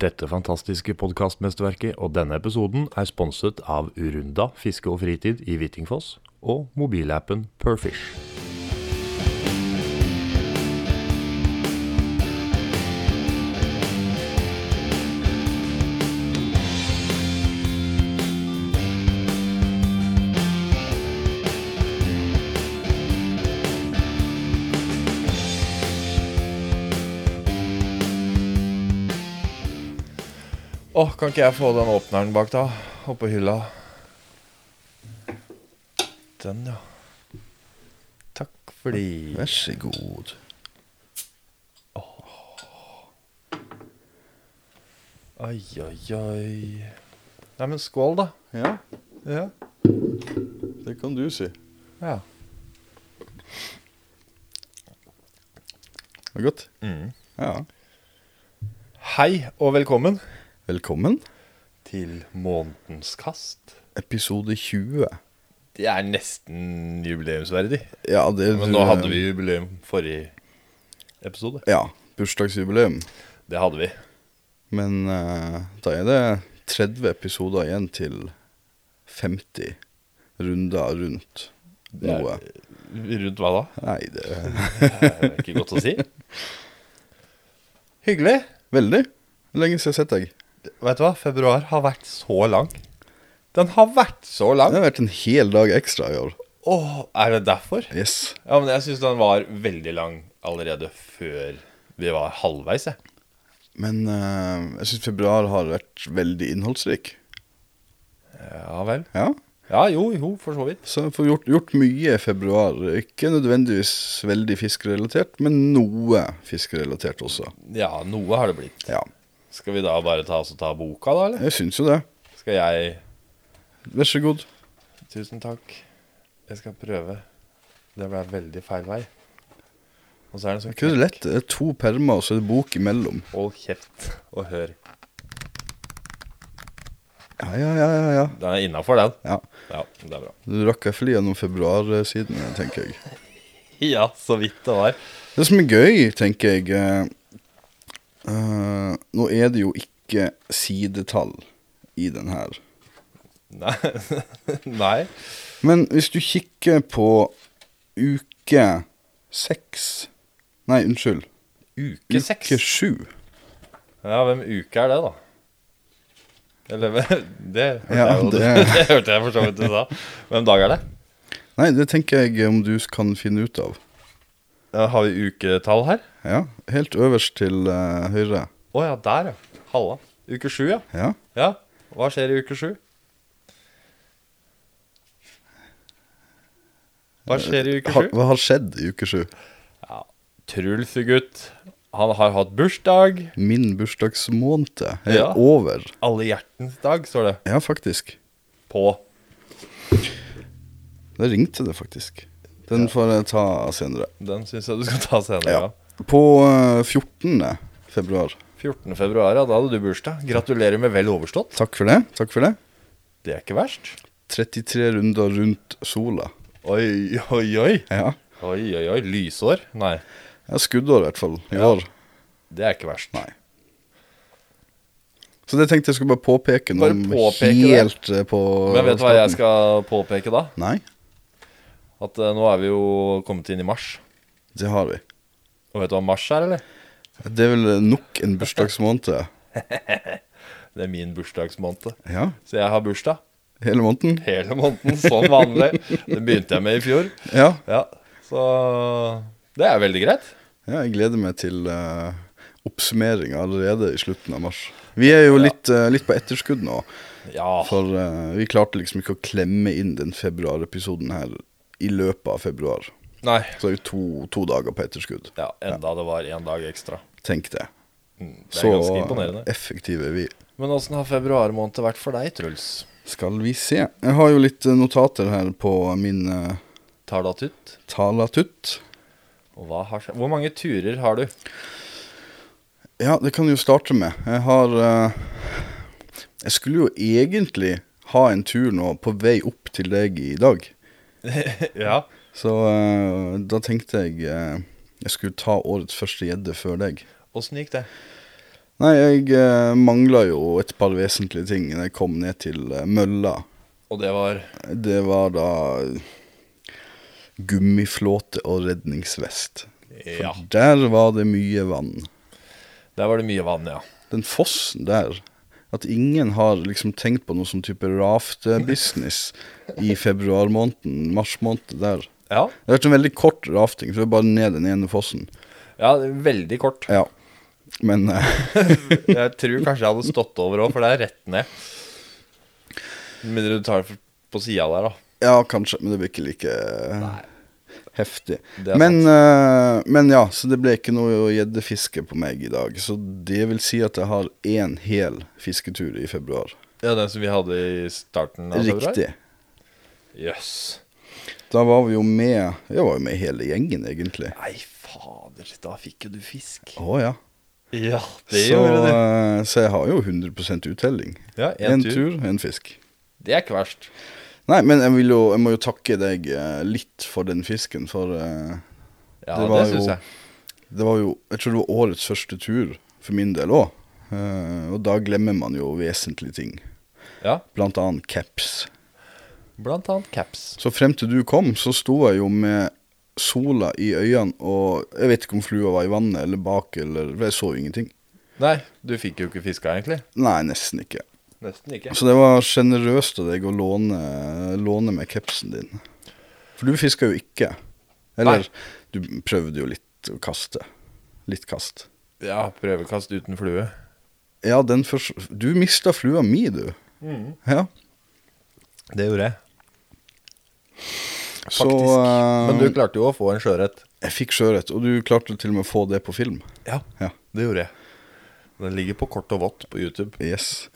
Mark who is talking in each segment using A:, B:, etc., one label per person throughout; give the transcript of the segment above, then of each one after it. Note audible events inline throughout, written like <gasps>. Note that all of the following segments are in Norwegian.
A: Dette fantastiske podkastmesterverket og denne episoden er sponset av Urunda fiske og fritid i Hvittingfoss og mobilappen Perfish.
B: Åh, kan ikke jeg få den åpneren bak da? Oppå hylla. Den, ja. Takk fordi
C: Vær så god.
B: Oi, oi, oi. Nei, men skål, da.
C: Ja,
B: Ja.
C: det kan du si. Det
B: ja.
C: var godt. Ja.
B: Mm. Hei og velkommen
C: Velkommen.
B: til Månedens kast.
C: Episode 20.
B: Det er nesten jubileumsverdig.
C: Ja, det
B: Men nå hadde vi jubileum forrige episode.
C: Ja, bursdagsjubileum.
B: Det hadde vi.
C: Men eh, da er det 30 episoder igjen til 50 runder rundt
B: er-
C: noe.
B: Eh, Rundt hva da?
C: Nei, det <laughs> er
B: Det er ikke godt å si. <laughs> Hyggelig.
C: veldig lenge siden jeg har sett deg.
B: Vet du hva? Februar har vært så lang. Den har vært så
C: Det
B: lang.
C: har vært en hel dag ekstra i år.
B: Åh, er det derfor?
C: Yes.
B: Ja, men jeg syns den var veldig lang allerede før vi var halvveis, jeg.
C: Men eh, jeg syns februar har vært veldig innholdsrik.
B: Ja vel.
C: Ja.
B: Ja, jo, jo, for så vidt.
C: Så jeg får gjort, gjort mye i februar. Ikke nødvendigvis veldig fiskerelatert, men noe fiskerelatert også.
B: Ja, noe har det blitt.
C: Ja,
B: Skal vi da bare ta, oss og ta boka, da, eller?
C: jeg syns jo det.
B: Skal jeg
C: Vær så god.
B: Tusen takk. Jeg skal prøve. Det ble veldig feil vei. Og så er det
C: Er
B: sånn
C: ikke det lett? Det er to permer, og så er det bok imellom.
B: Hold kjeft og hør.
C: Ja, ja, ja. ja, ja.
B: Den er innafor, den.
C: ja.
B: Ja, det er bra.
C: Du rakk i hvert fall gjennom februarsidene, tenker jeg.
B: Ja, så vidt det var.
C: Det som er gøy, tenker jeg eh, eh, Nå er det jo ikke sidetall i den her.
B: Nei. <laughs> Nei.
C: Men hvis du kikker på uke seks Nei, unnskyld.
B: Uke seks?
C: Uke sju.
B: Ja, hvem uke er det, da? Eller <laughs> hvem- Det hørte
C: Ja,
B: jeg jo. <laughs> Det.
C: det-
B: hørte jeg for så vidt du sa. Hvem dag er det?
C: Nei, det tenker jeg om du kan finne ut av.
B: Ja, Har vi uketall her?
C: Ja, Helt øverst til eh, høyre.
B: Å ja, der, ja. Halla. Uke sju, ja.
C: Ja.
B: ja. Hva skjer i uke sju? Hva skjer i uke
C: Har,
B: sju?
C: hva har skjedd i uke sju?
B: Ja. Trulfegutt. Han har hatt bursdag.
C: Min bursdagsmåned er
B: Ja.
C: over.
B: Alle hjertens dag, står det.
C: Ja, faktisk.
B: På.
C: Der ringte det faktisk. Den får jeg ta senere.
B: Den syns jeg du skal ta senere.
C: Ja.
B: Ja.
C: På eh, 14. februar.
B: 14. februar, ja. Da hadde du bursdag. Gratulerer med vel overstått.
C: Takk for det. Takk for det.
B: Det er ikke verst.
C: 33 runder rundt sola.
B: Oi, oi, oi.
C: Ja.
B: Oi, oi, oi. Lysår? Nei,
C: Ja, skuddår i hvert fall i
B: Ja.
C: år.
B: det er ikke verst.
C: Nei. Så det tenkte jeg skulle bare påpeke noe
B: Bare påpeke det.
C: helt eh, på
B: Men vet du hva jeg skal påpeke da?
C: Nei,
B: At eh, nå er vi jo kommet inn i mars.
C: det har vi.
B: Og vet du hva mars er, eller?
C: Det er vel nok en bursdagsmåned. eh,
B: Det er min bursdagsmåned.
C: Ja,
B: Så jeg har bursdag
C: hele måneden.
B: hele måneden, som vanlig. Det begynte jeg med i fjor.
C: Ja.
B: Ja, Så det er veldig greit.
C: ja, jeg gleder meg til uh, oppsummering allerede i slutten av mars. Vi er jo litt, eh, litt på etterskudd nå,
B: Ja.
C: for eh, vi klarte liksom ikke å klemme inn den februarepisoden her i løpet av februar.
B: Nei.
C: Så er vi to, to dager på etterskudd.
B: Ja, enda det var én dag ekstra.
C: Tenk det.
B: Mm, Det er
C: Så
B: ganske imponerende.
C: effektive er vi.
B: Men åssen har februar måned vært for deg, Truls?
C: Skal vi se. Jeg har jo litt eh, notater her på min eh,
B: Tar det tutt?
C: talatutt.
B: Og hva har skjedd? Hvor mange turer har du?
C: Ja, det kan jeg jo starte med. Jeg har eh, Jeg skulle jo egentlig ha en tur nå på vei opp til deg i dag.
B: <laughs> Ja.
C: Så eh, da tenkte jeg eh, jeg skulle ta årets første gjedde før deg.
B: Åssen gikk det?
C: Nei, jeg eh, mangla jo et par vesentlige ting da jeg kom ned til eh, mølla.
B: Og det var
C: Det var da gummiflåte og redningsvest. For
B: Ja.
C: der var det mye vann.
B: Der var det mye vann, ja.
C: Den fossen der At ingen har liksom tenkt på noe sånn type raftebusiness i februar måneden, mars måned der.
B: Ja,
C: Det har vært en veldig kort rafting, så det er bare ned den ene fossen.
B: ja det er veldig kort.
C: Ja. Men eh, <laughs>
B: Jeg tror kanskje jeg hadde stått over òg, for det er rett ned. Med mindre du tar det på sida der, da.
C: Ja, kanskje, men det blir ikke like eh, heftig.
B: Det er
C: Men, eh, men ja, så det ble ikke noe gjeddefiske på meg i dag. Så det vil si at jeg har én hel fisketur i februar.
B: Ja, Den som vi hadde i starten av februar?
C: Riktig.
B: Jøss.
C: Da var vi jo med Jeg var jo med hele gjengen, egentlig.
B: Nei, fader, da fikk jo du fisk.
C: Å ja.
B: Ja, det
C: Så,
B: gjorde du.
C: eh, så jeg har jo 100 uttelling.
B: Ja, en
C: Én
B: tur.
C: tur, én fisk.
B: Det er ikke verst.
C: Nei, men jeg, vil jo, jeg må jo takke deg eh, litt for den fisken, for eh,
B: Ja,
C: Det
B: det,
C: var
B: synes syns
C: jo-
B: jeg.
C: Det var jo, jeg tror det var årets første tur for min del òg. og da glemmer man jo vesentlige ting,
B: Ja,
C: blant annet caps.
B: blant annet caps.
C: Så frem til du kom, så sto jeg jo med sola i øynene, og jeg vet ikke om flua var i vannet eller bak, eller for Jeg så jo ingenting.
B: Nei, du fikk jo ikke fiska, egentlig.
C: Nei, nesten ikke.
B: Nesten ikke.
C: Så det var sjenerøst av deg å låne, låne med capsen din. For du fiska jo ikke. Eller
B: Nei.
C: du prøvde jo litt å kaste. Litt kast.
B: Ja, prøvekast uten flue.
C: Ja, den først Du mista flua mi, du.
B: Mm.
C: Ja.
B: Det gjorde jeg.
C: Så
B: Faktisk.
C: eh,
B: Men du klarte jo å få en sjøørret.
C: jeg fikk sjøørret, og du klarte til og med å få det på film.
B: Ja,
C: Ja.
B: det gjorde jeg. Den ligger på kort og vått på YouTube.
C: Yes.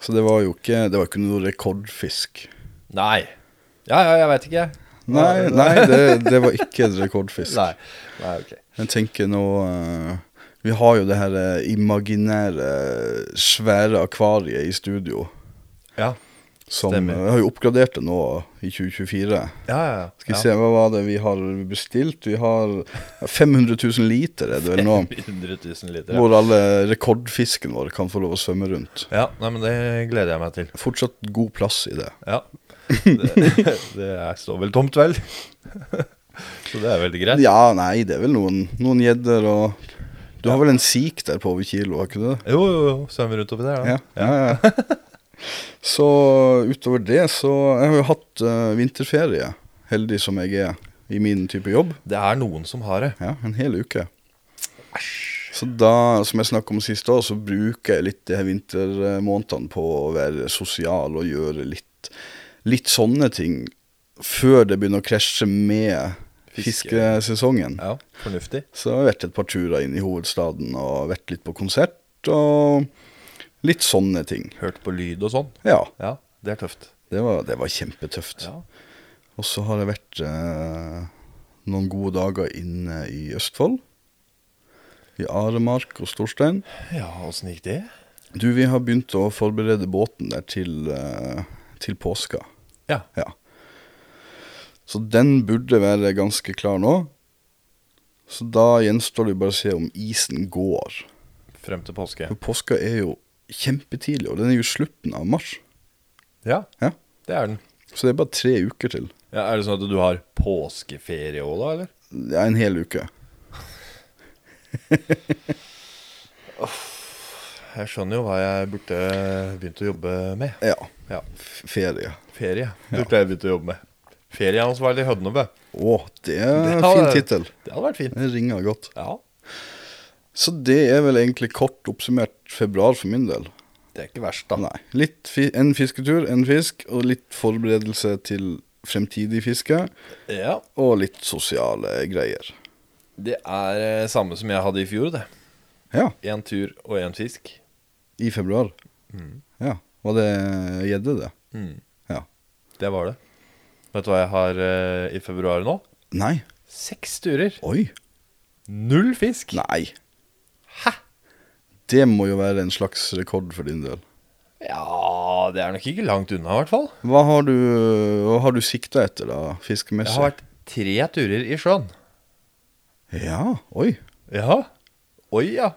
C: Så det var jo ikke Det var ikke noe rekordfisk.
B: Nei. Ja, ja, jeg veit ikke.
C: Nei, nei det, det var ikke en rekordfisk.
B: Nei. Nei, ok.
C: Jeg tenker nå eh, Vi har jo det her eh, imaginære, svære akvariet i studio.
B: Ja,
C: Som
B: Stemmer.
C: Jeg har jo oppgradert det nå i 2024.
B: ja, ja.
C: Skal vi se, hva var det vi har bestilt? Vi har 500 000 liter, er det vel nå?
B: 100 000 liter. <laughs> Ja.
C: Hvor alle rekordfisken vår kan få lov å svømme rundt.
B: ja, nei, men det gleder jeg meg til.
C: Fortsatt god plass i det.
B: Ja.
C: <laughs>
B: Det, det er- står vel tomt, vel? <laughs> Så det er veldig greit.
C: Ja, nei, det er vel noen noen gjedder og Du har vel en sik der på over kilo, har ikke du det?
B: Jo, jo, jo. Svømmer rundt oppi der, da.
C: Ja, ja, ja. <laughs> Så utover det, så Jeg har jo hatt eh, vinterferie, heldig som jeg er i min type jobb.
B: Det er noen som har det.
C: Ja, en hel uke. Så da, som jeg snakket om sist år, så bruker jeg litt de her vintermånedene på å være sosial og gjøre litt, litt sånne ting før det begynner å krasje med
B: Fiske.
C: fiskesesongen.
B: Ja, fornuftig.
C: Så jeg har vært et par turer inn i hovedstaden og vært litt på konsert og litt sånne ting.
B: Hørt på lyd og sånn.
C: Ja,
B: Ja, det er tøft.
C: det var, det var kjempetøft.
B: Ja.
C: Og så har jeg vært eh, noen gode dager inne i Østfold. I Aremark og Storstein.
B: Ja, åssen gikk det?
C: Du, vi har begynt å forberede båten der til, eh, til påska.
B: Ja.
C: Ja. Så den burde være ganske klar nå. Så da gjenstår det bare å se om isen går.
B: Frem til påske.
C: For påska er jo kjempetidlig, og den er jo slutten av mars.
B: Ja,
C: Ja.
B: det er den.
C: Så det er bare tre uker til.
B: Ja, er det sånn at du har påskeferie òg, da, eller?
C: Det er en hel uke.
B: Jeg skjønner jo hva jeg burde begynt å jobbe med.
C: Ja.
B: Ja,
C: f- Ferie.
B: Ferie burde jeg begynt å jobbe med. Ferieansvarlig i Hødnebø.
C: Å, det er en
B: Det
C: fin
B: hadde-
C: tittel.
B: Det hadde vært fint.
C: Det ringer godt.
B: Ja,
C: Så det er vel egentlig kort oppsummert februar for min del.
B: det er ikke verst, da.
C: Nei. Litt fi en fisketur, en fisk, og litt forberedelse til fremtidig fiske.
B: Ja,
C: Og litt sosiale greier.
B: Det er eh, samme som jeg hadde i fjor, det.
C: Ja,
B: Én tur og én fisk.
C: i februar. Ja. Var det gjedde, det?
B: Mm.
C: Ja.
B: Det var det. Vet du hva jeg har eh, i februar nå?
C: Nei.
B: Seks turer.
C: Oi.
B: Null fisk.
C: Nei.
B: Hæ?
C: Det må jo være en slags rekord for din del.
B: Ja, det er nok ikke langt unna, i hvert fall.
C: Hva har du, hva har du sikta etter, da,
B: Jeg
C: fiskemessig?
B: har vært tre turer i sjøen.
C: Ja, oi.
B: Ja. Oi, ja.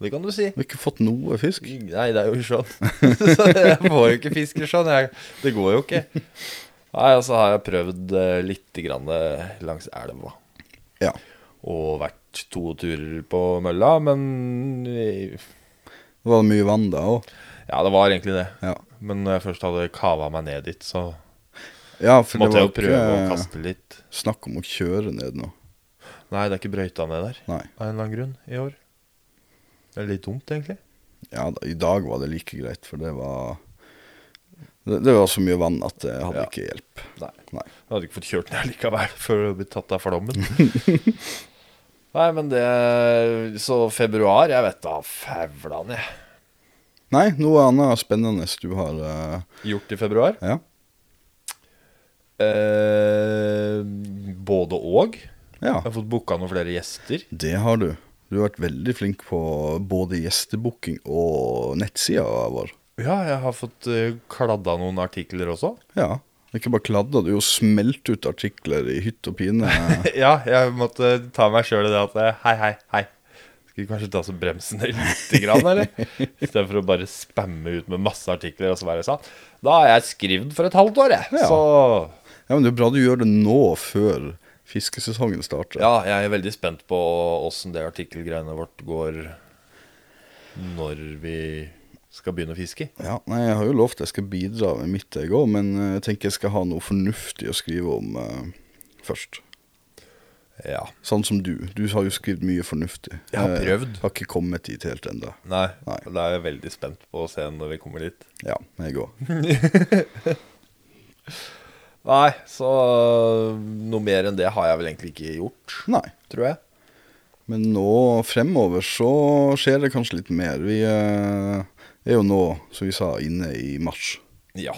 B: Det kan du si.
C: Vi har ikke fått noe fisk.
B: Nei, det er jo sånn. <laughs> Så jeg får jo ikke fisker sånn. Jeg, det går jo ikke. Nei, og så har jeg prøvd eh, litt grann eh, langs elva.
C: Ja.
B: Og vært to turer på mølla, men eh,
C: Det var mye vann da òg.
B: Ja, det var egentlig det.
C: Ja.
B: Men når jeg først hadde kava meg ned dit, så
C: ja, for
B: måtte jeg
C: det var
B: jo prøve å
C: ikke
B: kaste litt.
C: snakk om å kjøre ned nå.
B: Nei, det er ikke brøyta ned der
C: Nei.
B: av en eller annen grunn i år. Det er litt dumt, egentlig.
C: Ja, da, I dag var det like greit, for det var Det, det var så mye vann at det
B: Ja.
C: hadde ikke hjelp.
B: Nei.
C: Nei.
B: Jeg hadde ikke fått kjørt ned likevel før du ble tatt av flommen. Nei, men det Så februar, jeg vet da fævlan, jeg.
C: Nei, noe annet spennende du har eh,
B: Gjort i februar?
C: Ja.
B: Eh, både og. Jeg
C: ja.
B: har fått booka noen flere gjester.
C: Det har du. Du har vært veldig flink på både gjestebooking og nettsida vår.
B: Ja, jeg har fått eh, kladda noen artikler også. <laughs>
C: Ja. Ikke bare kladda, du har jo smelt ut artikler i hytt og
B: <laughs>
C: pine.
B: Ja, jeg måtte ta meg sjøl i det at eh, Hei, hei, hei. Skal vi kanskje ta oss og bremse ned lite grann, eller? Istedenfor å bare spamme ut med masse artikler og så være sånn. Da har jeg skrevet for et halvt år, jeg.
C: Ja.
B: Så
C: Ja, men det er bra du gjør det nå, før fiskesesongen starter.
B: Ja, jeg er veldig spent på åssen det artikkelgreiene vårt går når vi skal begynne å fiske.
C: Ja, nei, Jeg har jo lovt jeg skal bidra med mitt, jeg òg, men eh, jeg tenker jeg skal ha noe fornuftig å skrive om eh, først.
B: Ja.
C: Sånn som du. Du har jo skrevet mye fornuftig.
B: Jeg har
C: Eh,
B: prøvd.
C: har ikke kommet dit helt ennå.
B: Nei,
C: Nei.
B: da er jeg veldig spent på å se når vi kommer dit.
C: Ja, jeg òg.
B: Nei, så øh, noe mer enn det har jeg vel egentlig ikke gjort,
C: <laughs> Nei.
B: tror jeg.
C: Men nå fremover så skjer det kanskje litt mer. Vi eh, er jo nå, som vi sa, inne i mars.
B: Ja,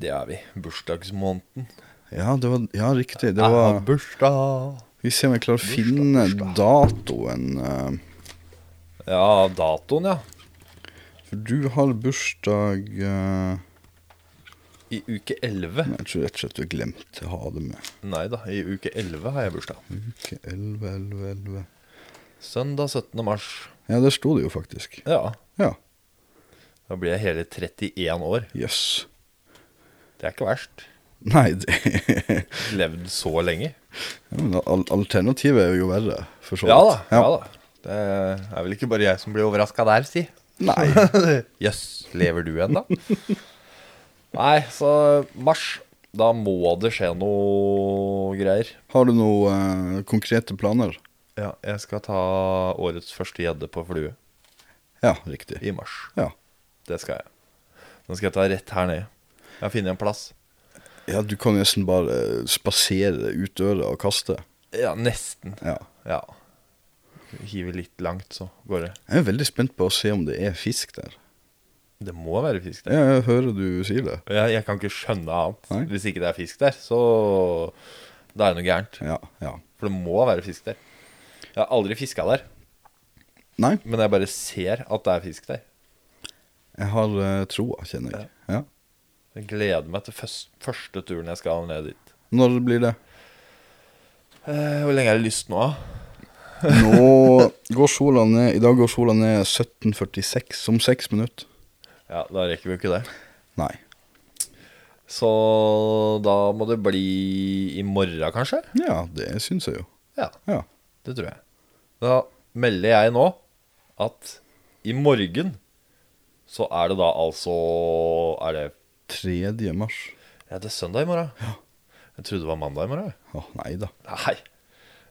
B: det er vi. Bursdagsmåneden.
C: Ja, det var, ja riktig. Det
B: Jeg har
C: var
B: bursdag.
C: Vi ser om jeg klarer å finne datoen. eh,
B: Ja, datoen, ja.
C: For du har bursdag eh,
B: I uke 11.
C: Jeg tror rett og slett du har glemt å ha det med.
B: Nei da, i uke 11 har jeg bursdag.
C: Uke 11, 11, 11
B: Søndag 17. mars.
C: Ja, der sto det jo faktisk.
B: Ja.
C: Ja.
B: Da blir jeg hele 31 år.
C: Jøss. Yes.
B: Det er ikke verst.
C: Nei, det <laughs>
B: Levd så lenge.
C: Ja, men al alternativet er jo verre, for så vidt.
B: Ja da. ja
C: Ja.
B: da Det er vel ikke bare jeg som blir overraska der, si.
C: <laughs>
B: <laughs>
C: Nei.
B: Jøss, lever du ennå? <laughs> Nei, så mars. Da må det skje noe greier.
C: Har du noen konkrete planer?
B: Ja, jeg skal ta årets første gjedde på flue
C: Ja, riktig.
B: i mars.
C: Ja.
B: Det skal jeg. Den skal jeg ta rett her nede. Jeg har funnet en plass.
C: ja, du kan nesten bare spasere ut døra og kaste.
B: Ja, nesten.
C: Ja.
B: Ja. Hive litt langt, så går det.
C: Jeg er veldig spent på å se om det er fisk der.
B: Det må være fisk der.
C: Ja, jeg hører du sier det.
B: Jeg, jeg kan ikke skjønne annet.
C: Nei.
B: Hvis ikke det er fisk der, så da er det noe gærent.
C: Ja, ja.
B: For det må være fisk der. Jeg har aldri fiska der,
C: Nei,
B: men jeg bare ser at det er fisk der.
C: jeg har eh, troa, kjenner jeg. Ja.
B: Jeg gleder meg til først, første turen jeg skal ned dit.
C: Når blir det?
B: Eh, hvor lenge er det lyst nå, da?
C: Nå går sola ned I dag går sola ned 17.46, om seks minutter.
B: Ja, da rekker vi jo ikke det.
C: Nei.
B: Så da må det bli i morgen, kanskje?
C: Ja, det syns jeg jo.
B: Ja,
C: Ja.
B: det tror jeg. Da melder jeg nå at i morgen så er det da altså Er det
C: 3. mars.
B: Ja, det er søndag i morgen. Jeg trodde det var mandag i morgen. jeg.
C: Å, nei da.
B: Nei.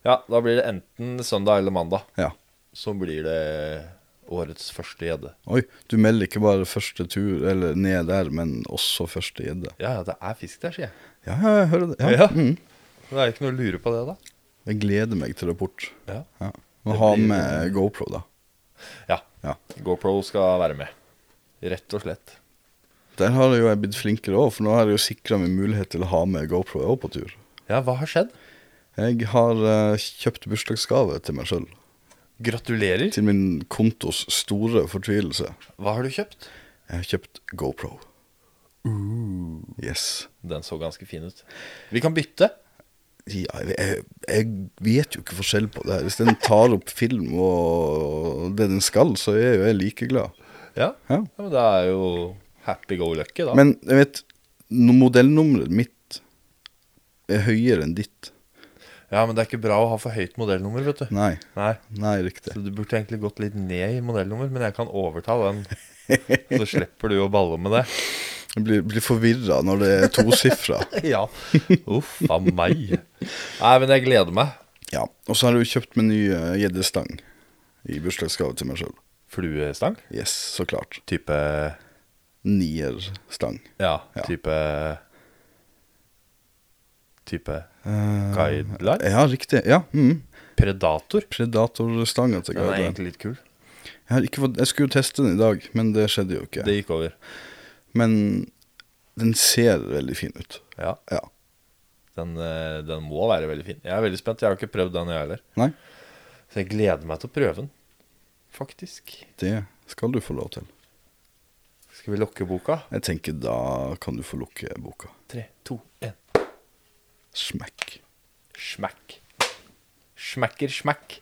B: Ja, da blir det enten søndag eller mandag.
C: Ja.
B: Så blir det årets første gjedde.
C: Oi, du melder ikke bare første tur eller ned der, men også første gjedde.
B: Ja, ja, det er fisk der, sier jeg.
C: Ja, ja, jeg hører det. Ja.
B: Ja.
C: Mm.
B: Det er ikke noe å lure på det, da.
C: Jeg gleder meg til rapport.
B: Ja.
C: Ja. Må
B: Det
C: ha
B: blir-
C: med GoPro, da.
B: ja.
C: Ja.
B: GoPro skal være med. Rett og slett.
C: Der har jo jeg blitt flinkere òg, for nå har jeg jo sikra meg mulighet til å ha med GoPro òg på tur.
B: Ja, hva har skjedd?
C: Jeg har eh, kjøpt bursdagsgave til meg sjøl.
B: Gratulerer.
C: Til min kontos store fortvilelse.
B: Hva har du kjøpt?
C: Jeg har kjøpt GoPro. Yes.
B: Den så ganske fin ut. Vi kan bytte.
C: ja, jeg, jeg, jeg vet jo ikke forskjell på det her. Hvis den tar opp film og det den skal, så er jo jeg like glad.
B: Ja.
C: Ja.
B: ja, men det er jo happy go lucky, da.
C: Men jeg vet, no- modellnummeret mitt er høyere enn ditt.
B: ja, men det er ikke bra å ha for høyt modellnummer, vet du.
C: Nei,
B: Nei.
C: nei, riktig.
B: Så du burde egentlig gått litt ned i modellnummer, men jeg kan overta den. Så slipper du å balle med det.
C: Jeg blir, blir forvirra når det er tosifra.
B: Ja. Uff a meg. Nei, men jeg gleder meg.
C: Ja. Og så har jeg jo kjøpt meg ny eh, gjeddestang i bursdagsgave til meg sjøl.
B: Fluestang?
C: Yes, så klart.
B: Type
C: Nierstang.
B: Ja,
C: Ja.
B: type Type
C: Eh,
B: guideline?
C: ja, riktig. Ja. Mm.
B: Predator?
C: Predatorstanga til
B: Den er
C: Guideline.
B: egentlig litt kul.
C: Jeg, har ikke fått, jeg skulle jo teste den i dag, men det skjedde jo ikke.
B: Det gikk over.
C: Men den ser veldig fin ut.
B: Ja.
C: Ja.
B: Den, eh, den må være veldig fin. Jeg er veldig spent. Jeg har ikke prøvd den, jeg heller.
C: Nei,
B: Så jeg gleder meg til å prøve den, faktisk.
C: det skal du få lov til.
B: Skal vi lukke boka?
C: Jeg tenker da kan du få lukke boka.
B: Tre, to, én.
C: Smekk.
B: Smekk. Smekker smekk.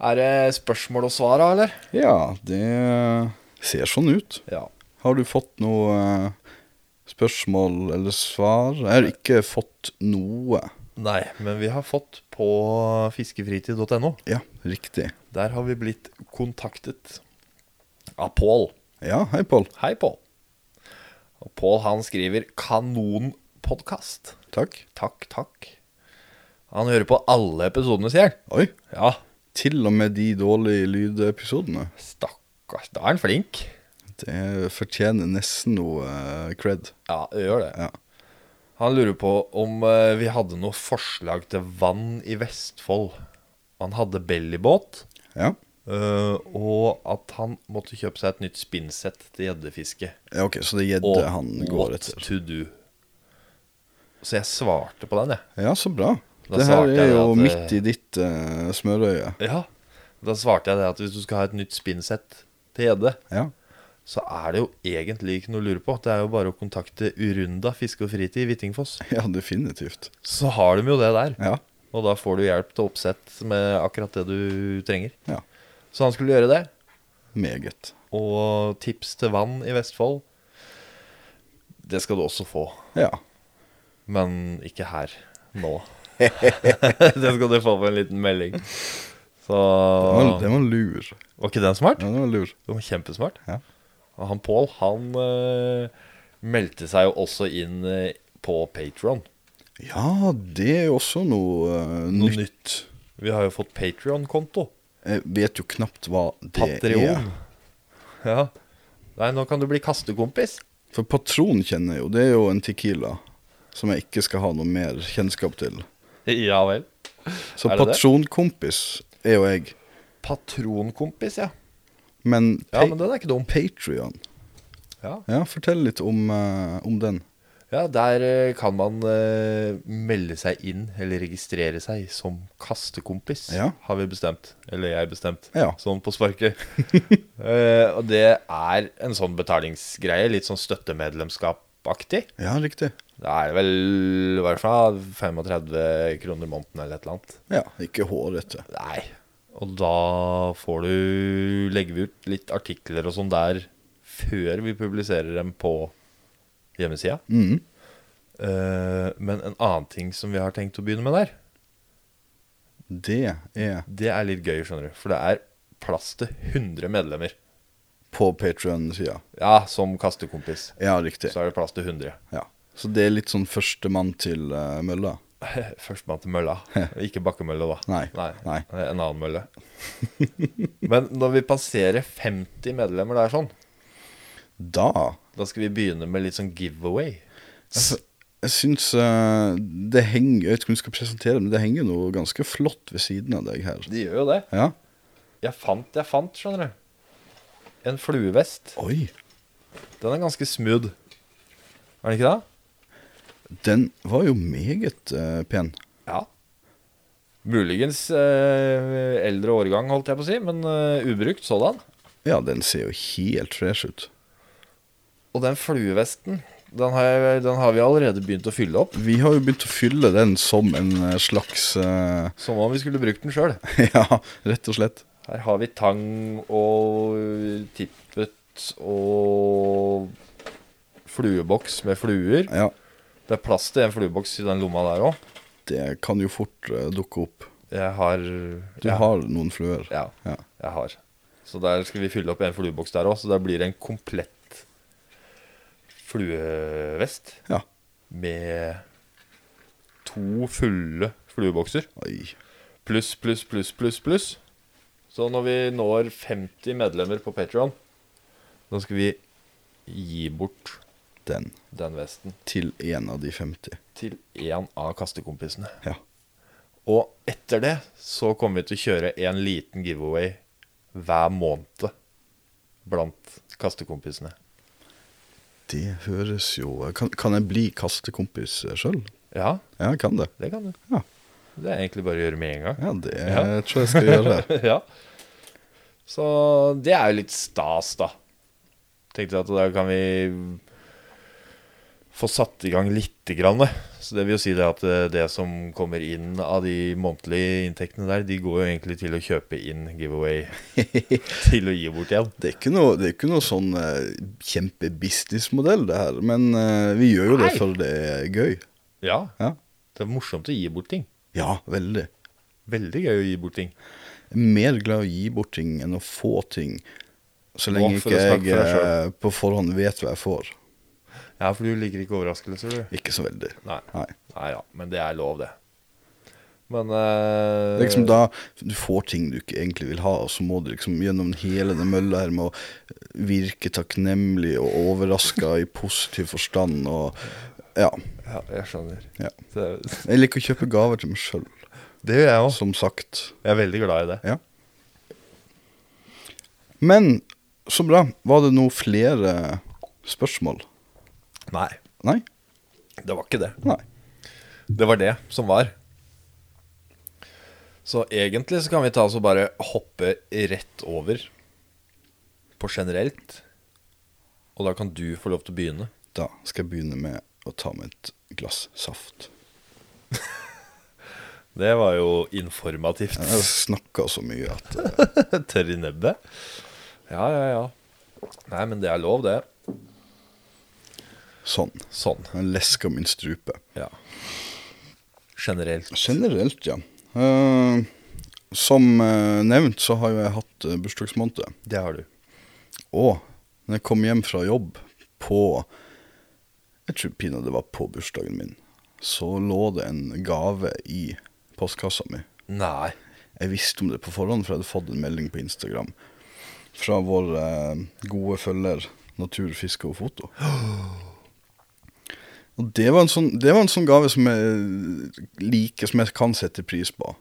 B: Er det spørsmål og svar, da, eller?
C: Ja, det ser sånn ut.
B: Ja.
C: Har du fått noe eh, spørsmål eller svar? Jeg har ikke fått noe.
B: Nei, men vi har fått på fiskefritid.no.
C: Ja, riktig.
B: Der har vi blitt kontaktet av Pål.
C: Ja, hei, Pål.
B: Hei, Pål. Og Pål han skriver 'kanonpodkast'.
C: Takk.
B: Takk, takk. Han hører på alle episodene, sier han.
C: Oi,
B: Ja,
C: til og med de dårlige lydepisodene.
B: stakkars. Da er han flink.
C: Det fortjener nesten noe eh, cred.
B: Ja, det gjør det.
C: Ja.
B: Han lurer på om eh, vi hadde noe forslag til vann i Vestfold. Han hadde bellybåt,
C: Ja,
B: eh, og at han måtte kjøpe seg et nytt spinnsett til gjeddefiske.
C: ja ok, så det er
B: Og
C: gjedde han går
B: what
C: etter.
B: to do. Så jeg svarte på den, jeg.
C: Ja, så bra.
B: Da
C: Det her
B: svarte jeg
C: er jo
B: at, eh,
C: midt i ditt eh, smørøye.
B: Ja. Da svarte jeg det at hvis du skal ha et nytt spinnsett til gjedde,
C: Ja. <laughs>
B: så er det jo egentlig ikke noe å lure på. Det er jo bare å kontakte Urunda fiske og fritid i Hvittingfoss.
C: ja, definitivt.
B: Så har de jo det der.
C: Ja.
B: Og da får du hjelp til oppsett med akkurat det du trenger.
C: ja.
B: Så han skulle gjøre det.
C: Meget.
B: Og tips til vann i Vestfold, det skal du også få.
C: Ja.
B: Men ikke her. Nå. <laughs> det skal du få på en liten melding. Så
C: Den var,
B: Ah.
C: den var lur.
B: Var ikke den smart?
C: Ja, den var lur.
B: Den var kjempesmart.
C: Ja.
B: Og han Pål, han eh, meldte seg jo også inn eh, på Patron.
C: Ja, det er jo også noe, eh,
B: Noe
C: nytt.
B: nytt. Vi har jo fått Patron-konto.
C: Jeg vet jo knapt hva det er.
B: Patreon. Ja. Nei, nå kan du bli kastekompis.
C: For patron kjenner jeg jo, det er jo en tequila som jeg ikke skal ha noe mer kjennskap til.
B: Ja vel.
C: Så
B: Er det det?
C: patronkompis er jo jeg.
B: Patronkompis, ja.
C: Men,
B: Ja,
C: pa
B: men den er ikke dum.
C: Patreon
B: Ja,
C: Ja, fortell litt om, eh, om den.
B: ja Der eh, kan man eh, melde seg inn, eller registrere seg, som kastekompis,
C: Ja.
B: har vi bestemt. Eller jeg bestemt,
C: Ja.
B: sånn på <laughs> sparket. Eh, og det er en sånn betalingsgreie, litt sånn støttemedlemskap-aktig.
C: Ja, riktig.
B: Da er det vel i hvert fall 35 kroner måneden eller et eller annet.
C: Ja, Ikke hårete.
B: Nei. Og da får du Legger vi ut litt artikler og sånn der før vi publiserer dem på hjemmesida.
C: Mhm.
B: Eh, men en annen ting som vi har tenkt å begynne med der,
C: Det er
B: det er litt gøy, skjønner du. For det er plass til 100 medlemmer.
C: på Patreon-sida.
B: Ja, som kastekompis.
C: Ja, riktig.
B: Så er det plass til 100.
C: Ja. Så det er litt sånn førstemann til eh, mølla?
B: <laughs> Førstemann til <laughs> mølla. Ikke bakkemølle, da.
C: Nei. Nei.
B: En annen <laughs> mølle. Men når vi passerer 50 medlemmer der sånn,
C: Da
B: da skal vi begynne med litt sånn giveaway.
C: Jeg, jeg syns eh, det henger Jeg vet ikke om du skal presentere, men det henger noe ganske flott ved siden av deg her.
B: De gjør jo det.
C: Ja.
B: Jeg fant, jeg fant, skjønner du. En fluevest.
C: Oi.
B: Den er ganske smooth. Er den ikke det?
C: Den var jo meget eh, pen.
B: Ja. Muligens eh, eldre årgang, holdt jeg på å si, men eh, ubrukt sådan.
C: Ja, den ser jo helt fresh ut.
B: Og den fluevesten Den har, jeg, den har vi allerede begynt å fylle opp.
C: Vi har jo begynt å fylle den som en eh, slags eh, <laughs>
B: Som om vi skulle brukt den sjøl.
C: Ja, rett og slett.
B: Her har vi tang og eh, tippet og flueboks med fluer.
C: Ja,
B: Det er plass til en flueboks i den lomma der òg.
C: det kan jo fort eh, dukke opp.
B: Jeg har
C: Du
B: jeg,
C: har noen fluer.
B: Ja,
C: Ja.
B: jeg har. Så der skal vi fylle opp en flueboks der òg, så der blir det en komplett fluevest
C: Ja.
B: med to fulle fluebokser.
C: Oi.
B: Pluss, pluss, pluss, pluss, pluss. Så når vi når 50 medlemmer på Patreon da skal vi gi bort
C: Den.
B: den vesten
C: Til en av de 50.
B: til en av kastekompisene.
C: Ja.
B: Og etter det så kommer vi til å kjøre en liten giveaway hver måned blant kastekompisene.
C: Det høres jo eh, Kan, kan jeg bli kastekompis sjøl?
B: Ja,
C: Ja, jeg kan det.
B: det kan du.
C: Ja.
B: Det er egentlig bare å gjøre med en gang.
C: Ja, det
B: Ja.
C: tror jeg skal
B: <laughs>
C: gjøre.
B: ja. Så det er jo litt stas, da. Tenkte jeg at da kan vi få satt i gang lite grann. det. Så det vil jo si det at eh, det som kommer inn av de månedlige inntektene der, de går jo egentlig til å kjøpe inn <laughs> giveaway til å gi bort igjen.
C: Det er ikke noe, det er ikke noe sånn eh, kjempebusinessmodell, det her. Men eh, vi gjør jo det
B: Nei.
C: for det er gøy.
B: Ja,
C: Ja,
B: det er morsomt å gi bort ting.
C: ja veldig.
B: Veldig gøy å gi bort ting.
C: Jeg er mer glad i å gi bort ting enn å få ting. Så lenge
B: Å, for å
C: ikke
B: snakke
C: jeg
B: for deg
C: eh,
B: selv.
C: på forhånd vet hva jeg får.
B: Ja, for du liker ikke overraskelser, du.
C: Ikke så veldig.
B: Nei.
C: Nei.
B: Nei ja, men det er lov, det. Men
C: Det
B: eh,
C: er liksom da du får ting du ikke egentlig vil ha, og så må du liksom gjennom hele den mølla her med å virke takknemlig og overraska i positiv forstand og Ja.
B: Ja, jeg skjønner.
C: ja.
B: Det,
C: Jeg liker å kjøpe gaver til meg sjøl,
B: det gjør jeg òg.
C: som sagt.
B: Jeg er veldig glad i det.
C: Ja. Men så bra. Var det noe flere spørsmål?
B: Nei,
C: Nei?
B: det var ikke det.
C: Nei.
B: Det var det som var. Så egentlig så kan vi ta oss og bare hoppe rett over på generelt. Og da kan du få lov til å begynne.
C: Da skal jeg begynne med å ta med et glass saft.
B: Det var jo informativt.
C: Jeg har snakka så mye at eh,
B: <laughs> Tørr i nebbet? Ja, ja, ja. Nei, men det er lov, det.
C: Sånn.
B: Sånn.
C: Jeg lesker min strupe.
B: Ja. Generelt.
C: Generelt, ja. Eh, som eh, nevnt så har jo jeg hatt eh, bursdagsmåned.
B: Det har du.
C: Og når jeg kom hjem fra jobb på Jeg tror pinadø det var på bursdagen min. Så lå det en gave i postkassa mi.
B: Nei.
C: Jeg visste om det på forhånd, for jeg hadde fått en melding på Instagram fra vår eh, gode følger Natur, fiske og foto. <gasps> Og det var, en sånn, det var en sånn gave som jeg liker, som jeg kan sette pris på.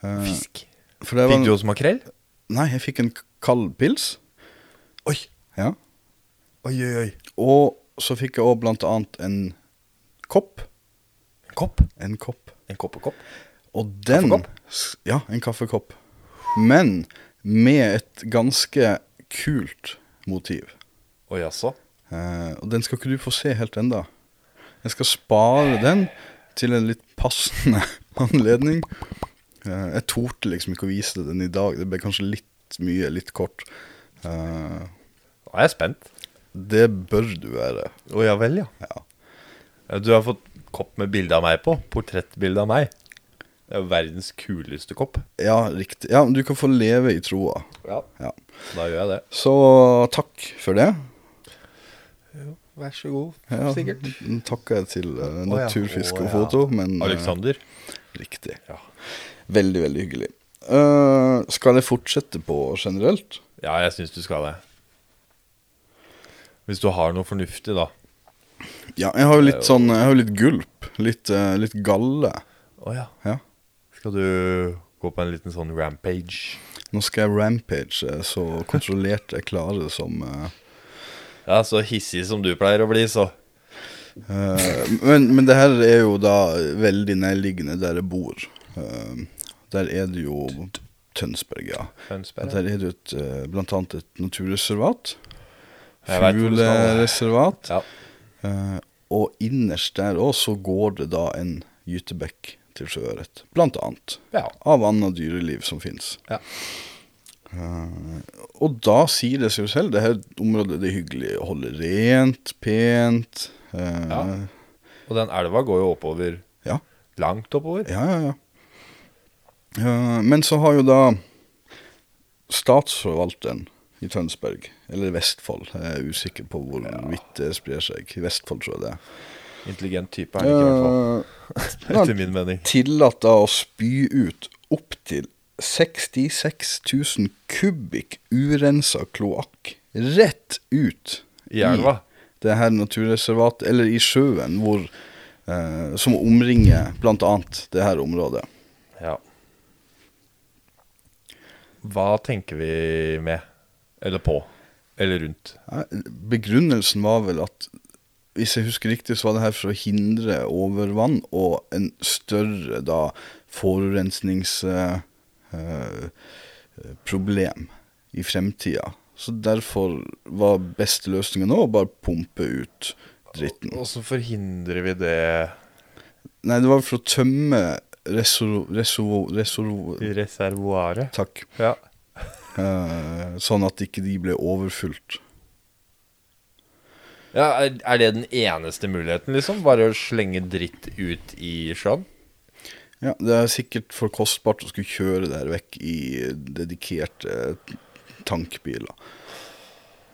C: Eh,
B: Fisk.
C: for det var
B: Fikk
C: en,
B: du også makrell?
C: Nei, jeg fikk en k- kald pils.
B: Oi,
C: Ja.
B: oi, oi. oi.
C: Og så fikk jeg òg blant annet en kopp.
B: En kopp?
C: En kopp.
B: En kopp og kopp?
C: Og den
B: Kaffekopp?
C: s- Ja, en kaffekopp. Men med et ganske kult motiv.
B: Oi, jaså?
C: Eh, og den skal ikke du få se helt enda. Jeg skal spare den til en litt passende <laughs> anledning. Eh, jeg torde liksom ikke å vise deg den i dag. Det ble kanskje litt mye, litt kort. Eh,
B: Nå er jeg spent.
C: det bør du være.
B: Å ja vel, ja.
C: Ja.
B: Du har fått kopp med bilde av meg på. Portrettbilde av meg. Det er jo verdens kuleste kopp.
C: Ja, riktig. Ja, men du kan få leve i troa.
B: Ja.
C: Ja.
B: Da gjør jeg det.
C: Så takk for det.
B: Vær så god.
C: Ja, den takker jeg til uh, Naturfisk og foto, men eh,
B: Alexander?
C: riktig.
B: Ja.
C: Veldig, veldig hyggelig. Eh, skal jeg fortsette på generelt?
B: Ja, jeg syns du skal det. Hvis du har noe fornuftig, da.
C: Ja, jeg har jo litt sånn Jeg har jo litt gulp. Litt, eh, litt galle.
B: Å ja.
C: Ja.
B: Skal du gå på en liten sånn rampage?
C: Nå skal jeg rampage eh, så kontrollert jeg klarer det som eh,
B: Ja, så hissig som du pleier å bli, så.
C: eh, men, men det her er jo da veldig nærliggende der jeg bor. Eh, der er det jo Tønsberg, ja.
B: Tønsberg,
C: At Der er det jo et, eh, blant annet et naturreservat. eh,
B: Jeg vet hvor du skal, ja.
C: Fuglereservat.
B: Ja.
C: Eh, og innerst der òg så går det da en gytebekk til sjøørret, blant annet.
B: Ja.
C: Av annet dyreliv som fins.
B: Ja.
C: og da sier det seg jo selv, det her området det er hyggelig å holde rent, pent. eh,
B: Ja. Og den elva går jo oppover.
C: Ja.
B: Langt oppover.
C: Ja, ja, ja. Eh, Men så har jo da statsforvalteren i Tønsberg, eller Vestfold, jeg er usikker på hvorvidt det sprer seg. I Vestfold, tror jeg det. er.
B: Intelligent type er den ikke, i hvert fall.
C: Eh,
B: Etter min mening.
C: tillatt da å spy ut opptil 66 000 kubikk urensa kloakk rett ut
B: I elva.
C: det her naturreservatet, eller i sjøen, hvor, eh, som omringer bl.a. det her området.
B: Ja. Hva tenker vi med? Eller på? Eller rundt?
C: Nei, Begrunnelsen var vel at hvis jeg husker riktig, så var det her for å hindre overvann og en større da forurensningsproblem eh, problem i fremtida. Så derfor var beste løsninga nå å bare pumpe ut dritten.
B: Og så forhindrer vi det
C: Nei, det var for å tømme reservo... reservo, reservo
B: i reservoaret.
C: takk.
B: Ja.
C: Eh, sånn at ikke de ble overfylt.
B: ja er, er det den eneste muligheten, liksom? Bare å slenge dritt ut i sjøen?
C: Ja, Det er sikkert for kostbart å skulle kjøre det her vekk i dedikerte tankbiler.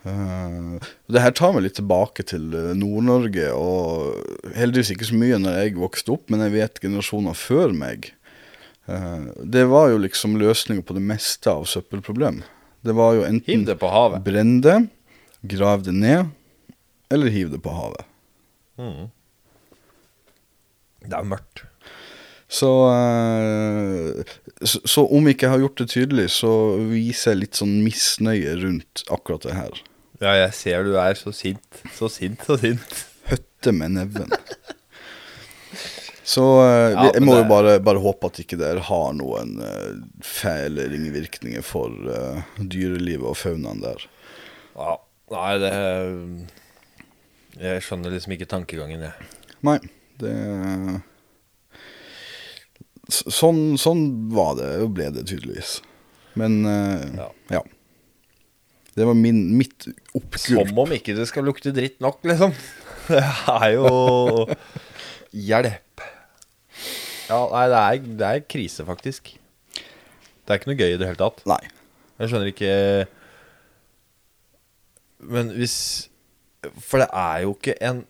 C: Eh, det her tar meg litt tilbake til eh, Nord-Norge, og heldigvis ikke så mye når jeg vokste opp, men jeg vet generasjoner før meg. Eh, det var jo liksom løsninga på det meste av søppelproblem. Det var jo
B: Hiv
C: enten
B: det på havet.
C: brenn det, grav det ned, eller hiv det på havet.
B: Det er mørkt.
C: Så, eh, så, så om ikke jeg har gjort det tydelig, så viser jeg litt sånn misnøye rundt akkurat det her.
B: Ja, jeg ser du er så sint. Så sint, så sint.
C: Høtte med neven. Så eh,
B: Ja,
C: jeg
B: men
C: må
B: det-
C: jo bare, bare håpe at ikke det her har noen eh, fæle ringvirkninger for eh, dyrelivet og faunaen der.
B: Ja. Nei, det Jeg skjønner liksom ikke tankegangen, jeg.
C: Nei, det S- Sånn, sånn var det, og ble det tydeligvis. Men eh,
B: Ja.
C: ja. Det var min, mitt oppgulp.
B: Som om ikke det skal lukte dritt nok, liksom. <laughs> Det er jo Hjelp. Ja, nei, det er, det er krise, faktisk. Det er ikke noe gøy i det hele tatt.
C: Nei.
B: Jeg skjønner ikke Men hvis For det er jo ikke en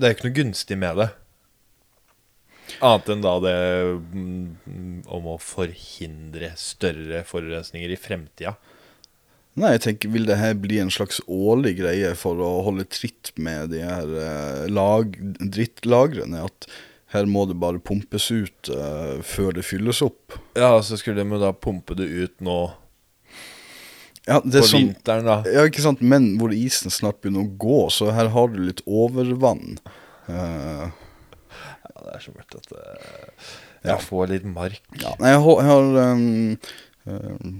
B: Det er jo ikke noe gunstig med det. Annet enn da det mm, om å forhindre større forurensninger i fremtida.
C: Nei, jeg tenker, Vil det her bli en slags årlig greie for å holde tritt med de her eh, lag, drittlagrene? At her må det bare pumpes ut eh, før det fylles opp?
B: Ja, så skulle de jo da pumpe det ut nå
C: Ja, det
B: på
C: som,
B: vinteren, da.
C: ja, ikke sant, Men hvor isen snart begynner å gå, så her har du litt overvann. Eh,
B: Ja, det er så mørkt at eh, jeg får litt mark.
C: ja. Nei, jeg, hol- jeg har ehm, ehm,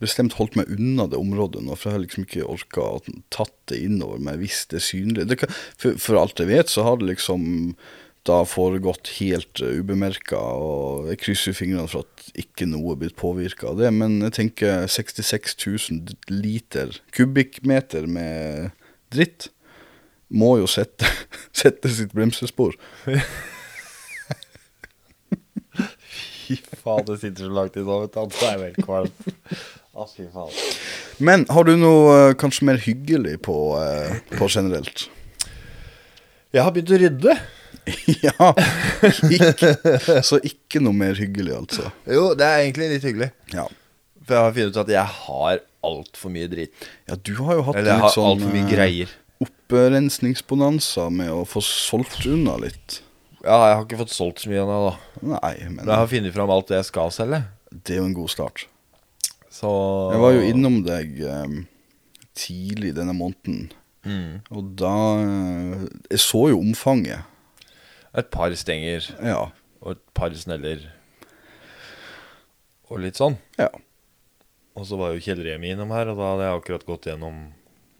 C: bestemt holdt meg unna det området nå, for jeg har liksom ikke orka å tatt det innover meg hvis det er synlig. Det kan, for, for alt jeg vet, så har det liksom da foregått helt uh, ubemerka, og jeg krysser jo fingrene for at ikke noe er blitt påvirka av det. Men jeg tenker 66 000 liter kubikkmeter med dritt må jo sette, <laughs> sette sitt bremsespor.
B: Fy faen, det sitter så langt i nå, vet du. at Det er helt kvalmt. <laughs> Å, fy faen.
C: Men har du noe eh, kanskje mer hyggelig på, eh, på generelt?
B: Jeg har begynt å rydde.
C: <laughs> ja. Ikke, så ikke noe mer hyggelig, altså.
B: Jo, det er egentlig litt hyggelig.
C: Ja,
B: For jeg har funnet ut at jeg har altfor mye dritt.
C: ja du har jo hatt
B: Eller jeg
C: litt
B: har
C: sånn
B: altfor mye
C: eh,
B: greier.
C: opprensningsbonanza med å få solgt unna litt.
B: Ja, jeg har ikke fått solgt så mye ennå, da.
C: Nei, men
B: Men jeg har funnet fram alt det jeg skal selge.
C: det er jo en god start.
B: Så
C: Jeg var jo innom deg eh, tidlig denne måneden,
B: Mm.
C: og da eh, Jeg så jo omfanget.
B: Et par stenger
C: Ja.
B: og et par sneller. Og litt sånn.
C: ja.
B: Og så var jo Kjell Remi innom her, og da hadde jeg akkurat gått gjennom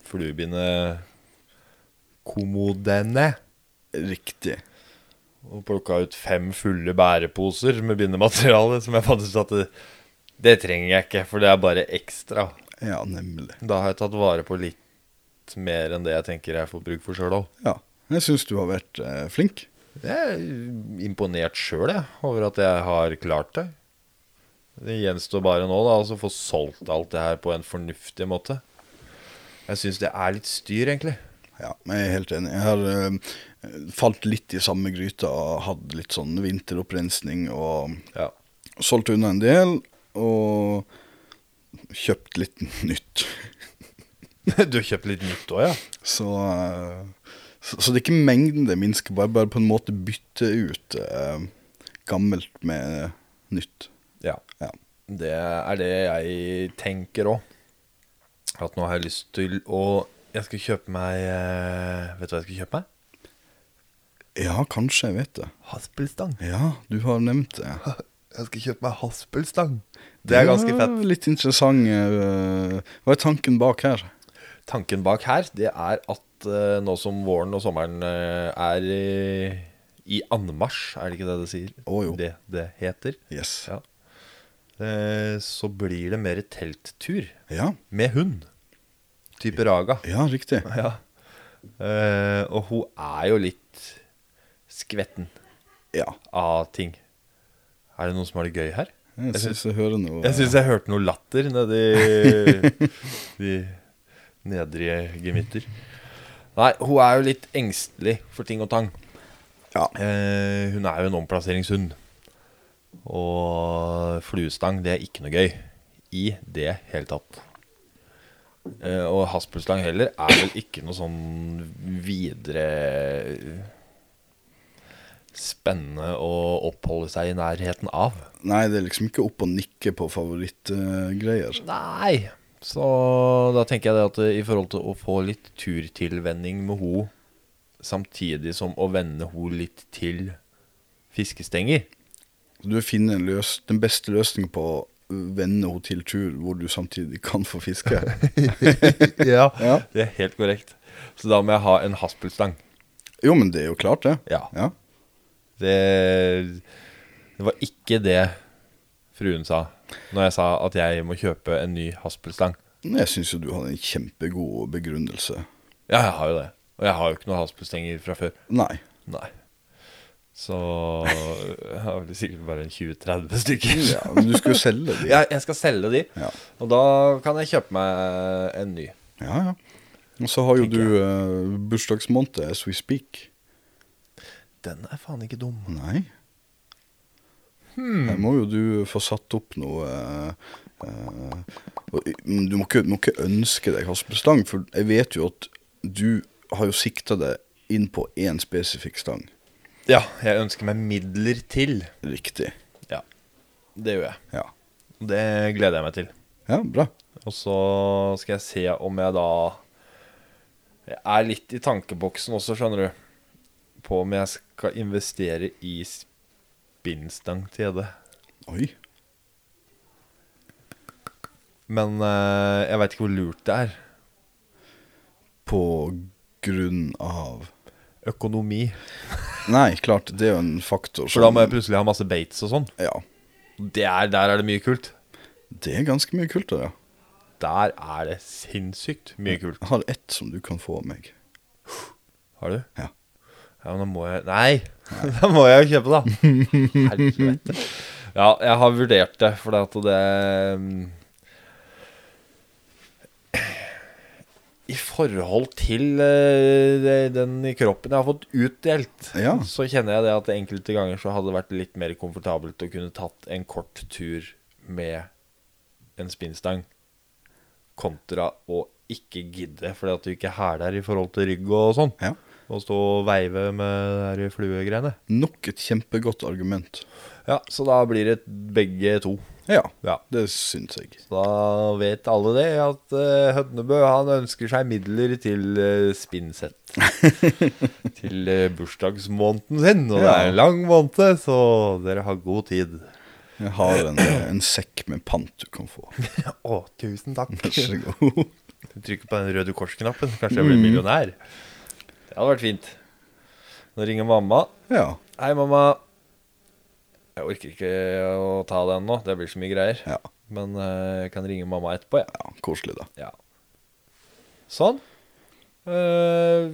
B: fluebindet Komodene.
C: Riktig.
B: Og plukka ut fem fulle bæreposer med bindemateriale, som jeg fant ut at det, det trenger jeg ikke, for det er bare ekstra.
C: Ja, nemlig.
B: Da har jeg tatt vare på litt mer enn det jeg tenker jeg får bruk for sjøl òg.
C: Ja. Jeg syns du har vært eh, flink.
B: Jeg er imponert sjøl over at jeg har klart det. Det gjenstår bare nå da, altså få solgt alt det her på en fornuftig måte. Jeg syns det er litt styr, egentlig.
C: Ja, men jeg er helt enig. Jeg har eh, falt litt i samme gryta og hatt litt sånn vinteropprensning og
B: Ja.
C: solgt unna en del og kjøpt litt <laughs> nytt.
B: <laughs> Du har kjøpt litt nytt òg, ja?
C: Så, eh, så, så det er ikke mengden det minsker, bare, bare på en måte bytte ut eh, gammelt med nytt.
B: Ja.
C: Ja.
B: Det er det jeg tenker òg. At nå har jeg lyst til å Jeg skal kjøpe meg eh, Vet du hva jeg skal kjøpe meg?
C: Ja, kanskje, jeg vet det.
B: Haspelstang.
C: Ja, du har nevnt det.
B: <laughs> Jeg skal kjøpe meg haspelstang. Det er ganske fett.
C: Ja, Litt interessant. eh, hva er tanken bak her?
B: Tanken bak her, det er at eh, nå som våren og sommeren eh, er i, i anmarsj, er det ikke det det sier?
C: Å, jo.
B: Det det heter.
C: Yes.
B: Ja. Eh, så blir det mer telttur
C: Ja,
B: med hund. Type Raga.
C: ja riktig.
B: <laughs> Ja. Eh, og hun er jo litt skvetten
C: Ja,
B: av ting. Er det noen som har det gøy her?
C: jeg
B: Jeg
C: syns jeg hører noe
B: Jeg syns jeg hørte noe latter nedi de nedrige gemytter. Nei, hun er jo litt engstelig for ting og tang.
C: Ja.
B: Eh, hun er jo en omplasseringshund. Og fluestang, det er ikke noe gøy i det hele tatt. Eh, og haspelstang heller er vel ikke noe sånn videre spennende å oppholde seg i nærheten av.
C: Nei, det er liksom ikke opp og nikke på favorittgreier.
B: Nei. Så da tenker jeg det at eh, i forhold til å få litt turtilvenning med ho, samtidig som å vende ho litt til fiskestenger
C: du finner en løs, den beste løsningen på å vende henne til tur hvor du samtidig kan få
B: <laughs>
C: fiske.
B: ja.
C: Ja.
B: Det er helt korrekt. Så da må jeg ha en haspelstang.
C: Jo, men det er jo klart, det.
B: Ja.
C: Ja.
B: Det, det var ikke det fruen sa når jeg sa at jeg må kjøpe en ny haspelstang.
C: Men Jeg syns jo du hadde en kjempegod begrunnelse.
B: Ja, jeg har jo det. Og jeg har jo ikke noen haspelstenger fra før.
C: Nei.
B: Nei. Så jeg har vel sikkert bare en 20-30 stykker.
C: Ja, men du skulle jo selge
B: <laughs>
C: de.
B: Jeg, jeg skal selge de,
C: Ja.
B: og da kan jeg kjøpe meg en ny.
C: Ja, ja. Og så har jo
B: Tenker
C: du uh, bursdagsmåned as we speak.
B: Den er faen ikke dum.
C: Nei.
B: Hmm.
C: Her må jo du få satt opp noe eh, eh, og i- men Du må ikke, må ikke ønske deg haspelstang, for jeg vet jo at du har jo sikta deg inn på én spesifikk stang.
B: Ja, jeg ønsker meg midler til.
C: Riktig.
B: Ja, det gjør jeg.
C: Ja.
B: Det gleder jeg meg til.
C: ja, bra.
B: Og så skal jeg se om jeg da Jeg er litt i tankeboksen også, skjønner du. På om jeg skal investere i spinnstang til gjedde.
C: Oi.
B: Men eh, jeg veit ikke hvor lurt det er.
C: På grunn av
B: Økonomi.
C: Nei, klart, det er jo en faktor
B: For da må jeg plutselig ha masse baits og sånn.
C: Ja.
B: Det er, der er det mye kult.
C: Det er ganske mye kult, det. ja.
B: Der er det sinnssykt mye kult.
C: Jeg har ett som du kan få av meg.
B: Har du?
C: Ja.
B: Ja, men da må jeg Nei! <laughs> da må jeg jo kjøpe, da. Helvete. Ja, jeg har vurdert det, for det at det mm, I forhold til eh, det- den i kroppen jeg har fått utdelt,
C: Ja.
B: så kjenner jeg det at enkelte ganger så hadde det vært litt mer komfortabelt å kunne tatt en kort tur med en spinnstang, kontra å ikke gidde, fordi at du ikke hæler i forhold til rygg og sånn.
C: Ja.
B: Og stå og veive med de der fluegreiene.
C: Nok et kjempegodt argument.
B: Ja, så da blir det begge to.
C: Ja,
B: Ja.
C: det syns jeg.
B: Da vet alle det, at eh, Hødnebø han ønsker seg midler til uh, spinnsett. til eh, bursdagsmåneden sin, og det
C: Ja.
B: er en lang måned, så dere har god tid.
C: Jeg har en, eh, en sekk med pant du kan få.
B: Å, tusen takk.
C: Vær så god.
B: Trykker på den Røde Kors-knappen, kanskje jeg blir millionær. Det hadde vært fint. Nå ringer mamma.
C: Ja.
B: Hei, mamma. Jeg orker ikke å ta den nå. Det blir så mye greier.
C: ja.
B: Men eh, jeg kan ringe mamma etterpå, jeg.
C: ja koselig, da.
B: Ja. Sånn. Eh,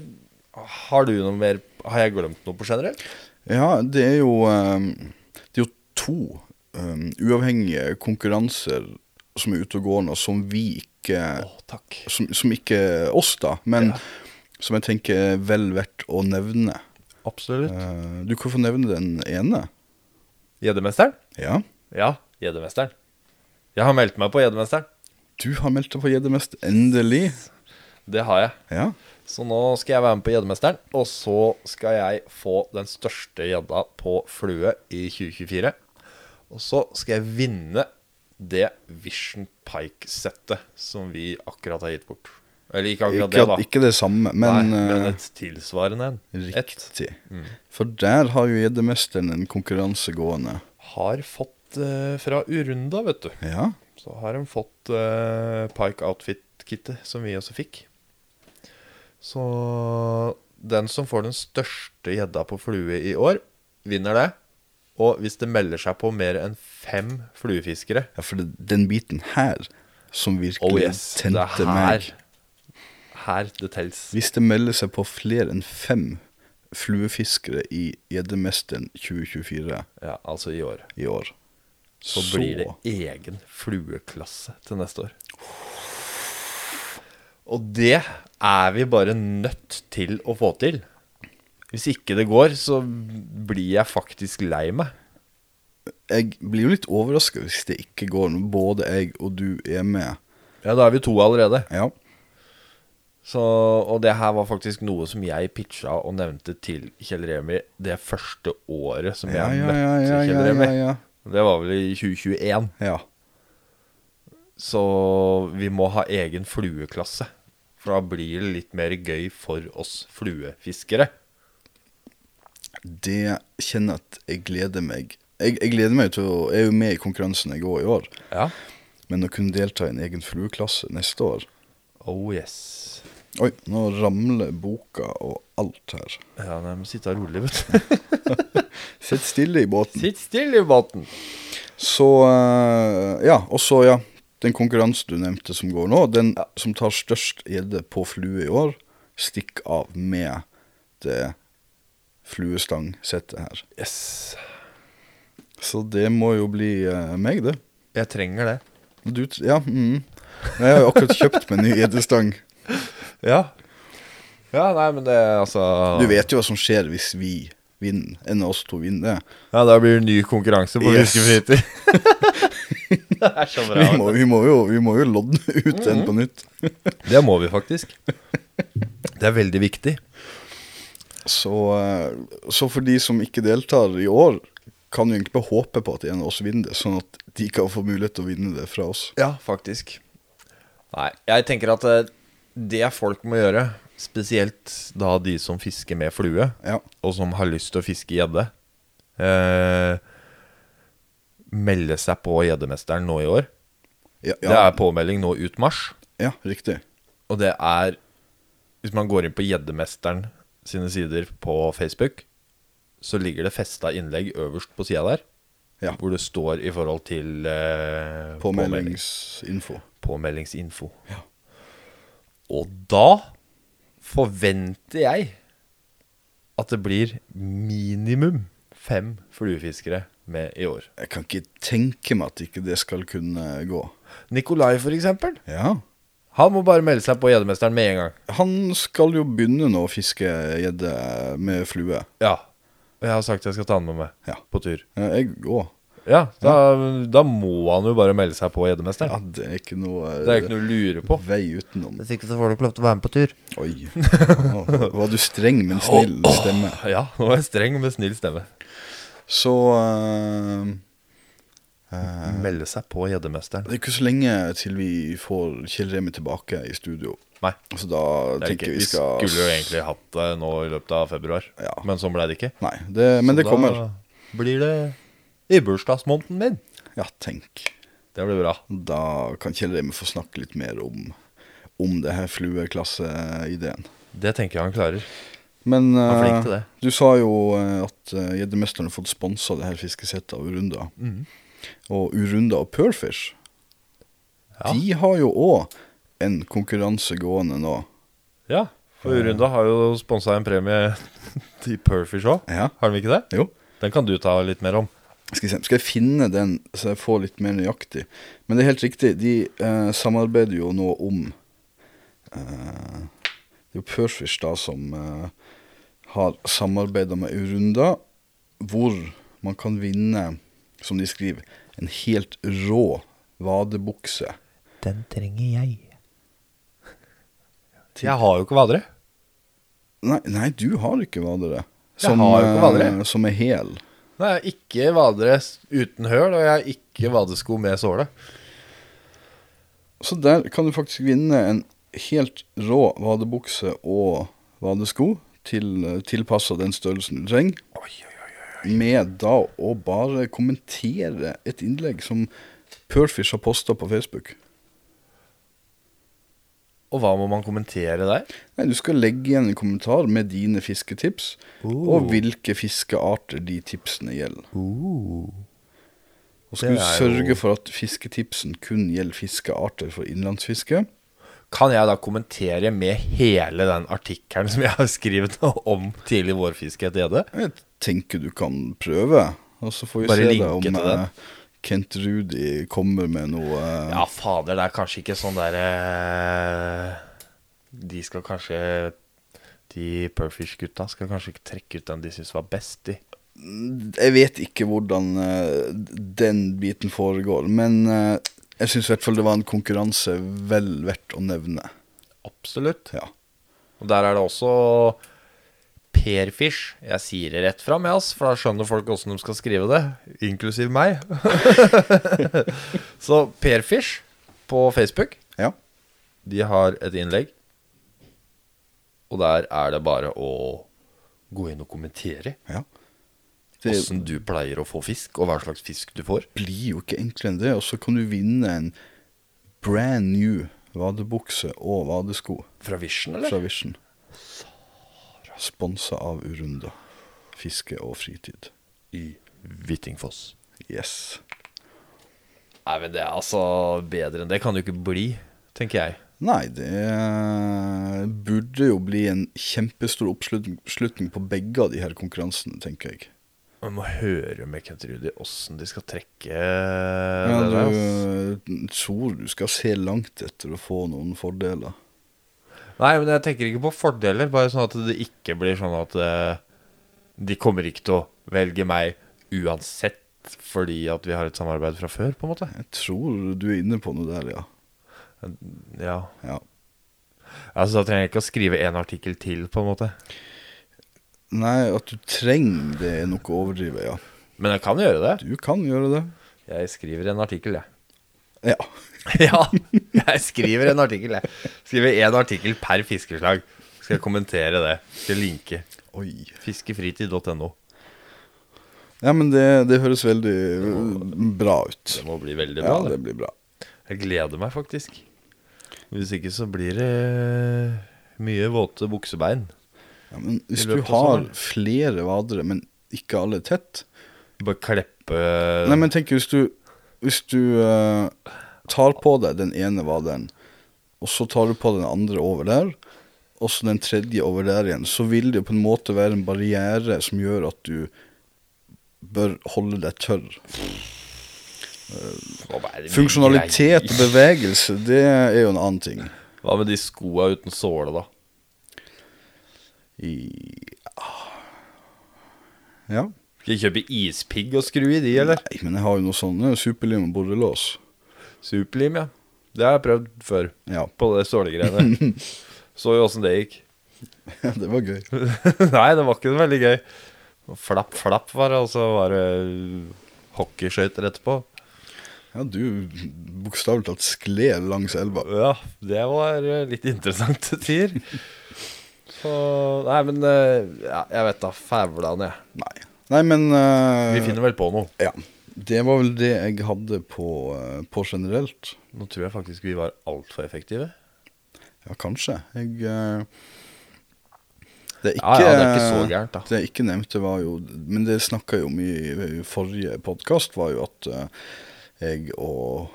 B: har du noe mer Har jeg glemt noe på generelt?
C: Ja, det er jo eh, Det er jo to eh, uavhengige konkurranser som er ute og går nå, som vi ikke
B: takk.
C: som, som ikke oss, da, men som jeg tenker er vel verdt å nevne.
B: Absolutt.
C: Eh, du kan få nevne den ene.
B: Gjeddemesteren?
C: Ja.
B: Ja, Gjeddemesteren. Jeg har meldt meg på Gjeddemesteren.
C: Du har meldt deg på Gjeddemest. Endelig.
B: Det har jeg.
C: Ja.
B: Så nå skal jeg være med på Gjeddemesteren, og så skal jeg få den største gjedda på flue i 2024. Og så skal jeg vinne det Vision Pike-settet som vi akkurat har gitt bort. Eller ikke akkurat
C: Ikke, at-
B: det, da.
C: ikke det samme, men,
B: Nei, men
C: eh,
B: et tilsvarende en. Et
C: riktig. For der har jo Gjeddemesteren en konkurranse gående.
B: har fått eh, fra Urunda, vet du.
C: Ja.
B: Så har de fått eh, Pike Outfit-kittet, som vi også fikk. Så den som får den største gjedda på flue i år, vinner det. Og hvis det melder seg på mer enn fem fluefiskere
C: ja, for det, den biten her som virkelig
B: Oh, Det
C: tente
B: er
C: meg
B: her, her det tels.
C: Hvis det melder seg på flere enn fem fluefiskere i Gjeddemesteren 2024
B: Ja, altså i år.
C: i år,
B: Så, blir det egen flueklasse til neste år. Og det er vi bare nødt til å få til. Hvis ikke det går, så blir jeg faktisk lei meg.
C: Jeg blir jo litt overraska hvis det ikke går når både jeg og du er med.
B: Ja, da er vi to allerede.
C: Ja.
B: Så, og det her var faktisk noe som jeg pitcha og nevnte til Kjell Remi det første året som jeg
C: Ja, ja,
B: møtte
C: ja, ja,
B: Kjell
C: ja,
B: Remi.
C: ja, ja.
B: Det var vel i 2021.
C: ja.
B: Så vi må ha egen flueklasse. For da blir det litt mer gøy for oss fluefiskere.
C: Det kjenner jeg at jeg gleder meg Jeg, jeg gleder meg til å Jeg er jo med i konkurransen jeg går i år,
B: Ja.
C: men å kunne delta i en egen flueklasse neste år
B: Oh yes.
C: Oi, nå ramler boka og alt her.
B: Ja, nei, men sitte rolig, vet du.
C: Sitt stille i båten.
B: <laughs> Sitt stille i båten.
C: Så eh, Ja, og så, ja. Den konkurransen du nevnte som går nå, den som tar størst gjedde på flue i år, stikk av med det fluestangsettet her.
B: Yes.
C: Så det må jo bli eh, meg, det.
B: Jeg trenger det.
C: Du, ja, mm. Nei, Jeg har jo akkurat kjøpt meg ny gjeddestang.
B: Ja. Ja, nei, men det er altså
C: Du vet jo hva som skjer hvis vi vinner, en av oss to vinner det.
B: Ja, da blir det ny konkurranse på
C: Yes.
B: fiskefritid. <laughs> det er så
C: Vi må, vi må, jo, vi må jo lodde ut
B: Mhm.
C: en på nytt.
B: Det må vi faktisk. Det er veldig viktig.
C: Så, eh, så for de som ikke deltar i år, kan jo egentlig bare håpe på at en av oss vinner det, sånn at de kan få mulighet til å vinne det fra oss.
B: Ja, faktisk. Nei, jeg tenker at eh, det folk må gjøre, spesielt da de som fisker med flue,
C: Ja,
B: og som har lyst til å fiske gjedde, eh, melde seg på Gjeddemesteren nå i år.
C: ja,
B: Det
C: ja,
B: er påmelding nå ut mars,
C: ja riktig.
B: og det er Hvis man går inn på Gjeddemesteren sine sider på Facebook, så ligger det festa innlegg øverst på sida der,
C: Ja.
B: hvor det står i forhold til eh, påmelding-
C: Påmeldingsinfo.
B: påmeldingsinfo. Og da forventer jeg at det blir minimum fem fluefiskere med i år.
C: Jeg kan ikke tenke meg at ikke det skal kunne gå.
B: Nikolai, for eksempel.
C: Ja.
B: Han må bare melde seg på Gjeddemesteren med en gang.
C: Han skal jo begynne nå å fiske gjedde med flue.
B: Ja. Og jeg har sagt jeg skal ta han med meg
C: Ja.
B: på tur.
C: Ja, Jeg òg.
B: Ja, da, da må han jo bare melde seg på
C: Ja,
B: Gjeddemesteren.
C: det er ikke noe,
B: Det er ikke noe å lure på.
C: vei utenom.
B: Hvis ikke så får du ikke lov til å være med på tur.
C: Oi. Ja, <laughs> var du streng, men snill stemme.
B: Ja, nå er jeg streng med snill stemme.
C: Så eh,
B: Melde seg på Gjeddemesteren.
C: Det er ikke så lenge til vi får Kjell Remi tilbake i studio.
B: Nei.
C: Så da
B: Det er ikke.
C: tenker
B: Vi
C: vi skal
B: skulle jo egentlig hatt det nå i løpet av februar,
C: Ja.
B: men sånn ble det ikke.
C: Nei, det,
B: Så
C: men det kommer.
B: Da blir det i bursdagsmåneden min.
C: Ja, tenk.
B: Det blir bra.
C: Da kan Kjell Remi få snakke litt mer om, om det her flueklasseideen.
B: Det tenker jeg han klarer.
C: Men
B: Han er
C: eh,
B: flink til det.
C: du sa jo eh, at eh, gjeddemesteren har fått sponsa det her fiskesettet av Urunda.
B: Mhm.
C: Og Urunda og Perfish
B: Ja.
C: De har jo òg en konkurranse gående nå.
B: Ja, for Urunda har jo sponsa en premie <laughs> til Perfish òg.
C: Ja,
B: Har de ikke det?
C: jo.
B: Den kan du ta litt mer om.
C: Skal, jeg se, skal jeg finne den, så jeg får litt mer nøyaktig? Men det er helt riktig, de eh, samarbeider jo nå om eh, Det er jo Perfish da som eh, har samarbeida med Urunda, hvor man kan vinne, som de skriver, en helt rå vadebukse.
B: Den trenger jeg. Jeg har jo ikke vadere.
C: Nei, nei, du har ikke vadere.
B: Jeg har jo ikke vadere.
C: eh, som er hel.
B: Nei, jeg har ikke vadere s- uten høl, og jeg har ikke vadesko med såle.
C: Så der kan du faktisk vinne en helt rå vadebukse og vadesko til, tilpassa den størrelsen du trenger. Med da å bare kommentere et innlegg som Perfish har posta på Facebook.
B: Og hva må man kommentere der?
C: Nei, Du skal legge igjen en kommentar med dine fisketips,
B: Oh.
C: og hvilke fiskearter de tipsene gjelder.
B: Uh.
C: Og skal
B: Det
C: du
B: er jo-
C: sørge for at fisketipsen kun gjelder fiskearter for innlandsfiske.
B: Kan jeg da kommentere med hele den artikkelen som jeg har skrevet <laughs> om tidlig vårfiske etter gjedde?
C: Jeg tenker du kan prøve, og så får vi
B: Bare
C: se
B: linke
C: da om
B: til den.
C: eh, Kent Rudi kommer med noe eh,
B: Ja, fader, det er kanskje ikke sånn der eh, De skal kanskje De Perfish-gutta skal kanskje ikke trekke ut den de syns var best, de.
C: Jeg vet ikke hvordan eh, den biten foregår, men eh, jeg syns i hvert fall det var en konkurranse vel verdt å nevne.
B: Absolutt.
C: Ja.
B: Og der er det også Perfish. Jeg sier det rett fram, jeg, ass, for da skjønner folk åssen de skal skrive det. Inklusiv meg. <laughs> Så Perfish på Facebook,
C: ja.
B: de har et innlegg. Og der er det bare å gå inn og kommentere
C: ja. Det
B: åssen du pleier å få fisk, og hva slags fisk du får.
C: blir jo ikke enklere enn det, og så kan du vinne en brand new vadebukse og vadesko
B: Fra Vision, eller?
C: fra Vision. Sponsa av Urunda. Fiske og fritid.
B: I Hvittingfoss.
C: Yes.
B: Nei, men det er altså bedre enn det kan det jo ikke bli, tenker jeg.
C: Nei, det burde jo bli en kjempestor oppslutning slutning på begge av de her konkurransene, tenker jeg.
B: Vi må høre med Kent Rudi åssen de skal trekke
C: Ja,
B: det der. ass.
C: du eh, tror du skal se langt etter å få noen fordeler.
B: Nei, men jeg tenker ikke på fordeler, bare sånn at det ikke blir sånn at eh, de kommer ikke til å velge meg uansett fordi at vi har et samarbeid fra før, på en måte.
C: Jeg tror du er inne på noe der, ja.
B: Ja.
C: ja.
B: Altså, da trenger jeg ikke å skrive en artikkel til, på en måte.
C: Nei, at du trenger det er noe å overdrive, ja.
B: Men jeg kan gjøre det.
C: Du kan gjøre det.
B: Jeg skriver en artikkel, jeg.
C: Ja.
B: Ja, jeg skriver en artikkel, jeg. Skriver én artikkel per fiskeslag. Skal jeg kommentere det. Skal linke.
C: Oi.
B: Fiskefritid.no.
C: Ja, men det, det høres veldig eh, bra ut.
B: Det må bli veldig bra.
C: Ja,
B: det.
C: det blir bra.
B: Jeg gleder meg faktisk. Hvis ikke så blir det eh, mye våte buksebein.
C: Ja, men hvis
B: I
C: du
B: løpet av
C: har
B: sommeren.
C: flere vadere, men ikke alle tett,
B: Bare kleppe
C: Nei, men tenk hvis du Hvis du eh, tar på deg den ene vaderen, og så tar du på den andre over der, og så den tredje over der igjen, så vil det jo på en måte være en barriere som gjør at du bør holde deg tørr.
B: Hva er det mye
C: Funksjonalitet og
B: greier?
C: bevegelse, det er jo en annen ting.
B: Hva med de skoa uten såle, da?
C: Ja.
B: Skal jeg kjøpe ispigg og skru i de, eller?
C: Nei, men jeg har jo noe sånne superlim og borrelås.
B: Superlim, ja. Det har jeg prøvd før.
C: Ja, <laughs>
B: På det sålegreiene. Så jo åssen det gikk.
C: det var gøy.
B: <laughs> Nei, det var ikke veldig gøy. Flapp, flapp var det, og så var det hockeyskøyter etterpå.
C: Ja, du bokstavelig talt skled langs elva.
B: Ja, det var eh, litt interessant til <laughs> tider. Så Nei, men eh, ja, jeg vet da. Fævlan, jeg.
C: Nei. Nei, men eh,
B: Vi finner vel på noe.
C: Ja. Det var vel det jeg hadde på, eh, på generelt.
B: Nå tror jeg faktisk vi var altfor effektive.
C: Ja, kanskje. Jeg eh, Det er ikke,
B: Ja, ja, det er ikke så gærent, da.
C: Det jeg ikke nevnte, var jo Men det snakka jeg om i, i forrige podkast, var jo at eh, jeg og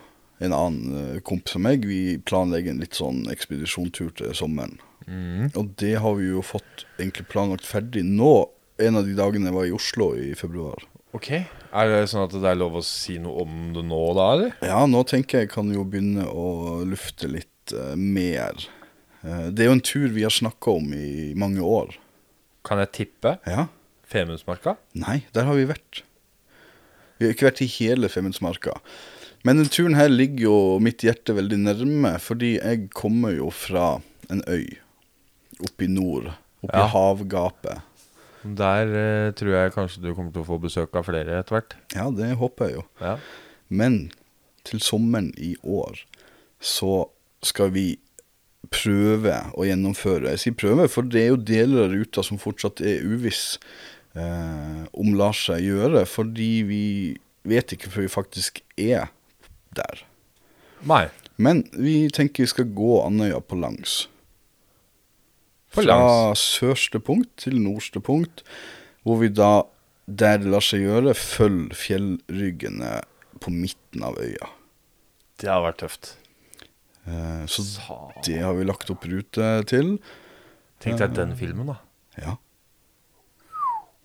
C: en annen eh, kompis av meg, vi planlegger en litt sånn ekspedisjontur til sommeren.
B: Mm.
C: Og det har vi jo fått egentlig planlagt ferdig nå. En av de dagene jeg var i Oslo i februar.
B: Ok Er det sånn at det er lov å si noe om det nå, da, eller?
C: Ja, nå tenker jeg kan jo begynne å lufte litt eh, mer. Eh, det er jo en tur vi har snakka om i mange år.
B: Kan jeg tippe?
C: Ja.
B: Femundsmarka?
C: Nei, der har vi vært. Vi har ikke vært i hele Femundsmarka. Men denne turen her ligger jo mitt hjerte veldig nærme, fordi jeg kommer jo fra en øy oppe i nord. Oppe
B: Ja.
C: i havgapet.
B: Der eh, tror jeg kanskje du kommer til å få besøk av flere etter hvert.
C: Ja, det håper jeg jo.
B: Ja.
C: Men til sommeren i år så skal vi prøve å gjennomføre. Jeg sier prøve, for det er jo deler av ruta som fortsatt er uviss eh, om lar seg gjøre, fordi vi vet ikke før vi faktisk er der.
B: Nei.
C: Men vi tenker vi skal gå Andøya på langs.
B: På langs.
C: Fra sørste punkt til nordste punkt, hvor vi da, der det lar seg gjøre, følger fjellryggene på midten av øya.
B: Det har vært tøft.
C: Eh, Så
B: Sa-
C: det har vi lagt opp rute til.
B: Tenk deg den filmen, da.
C: Ja.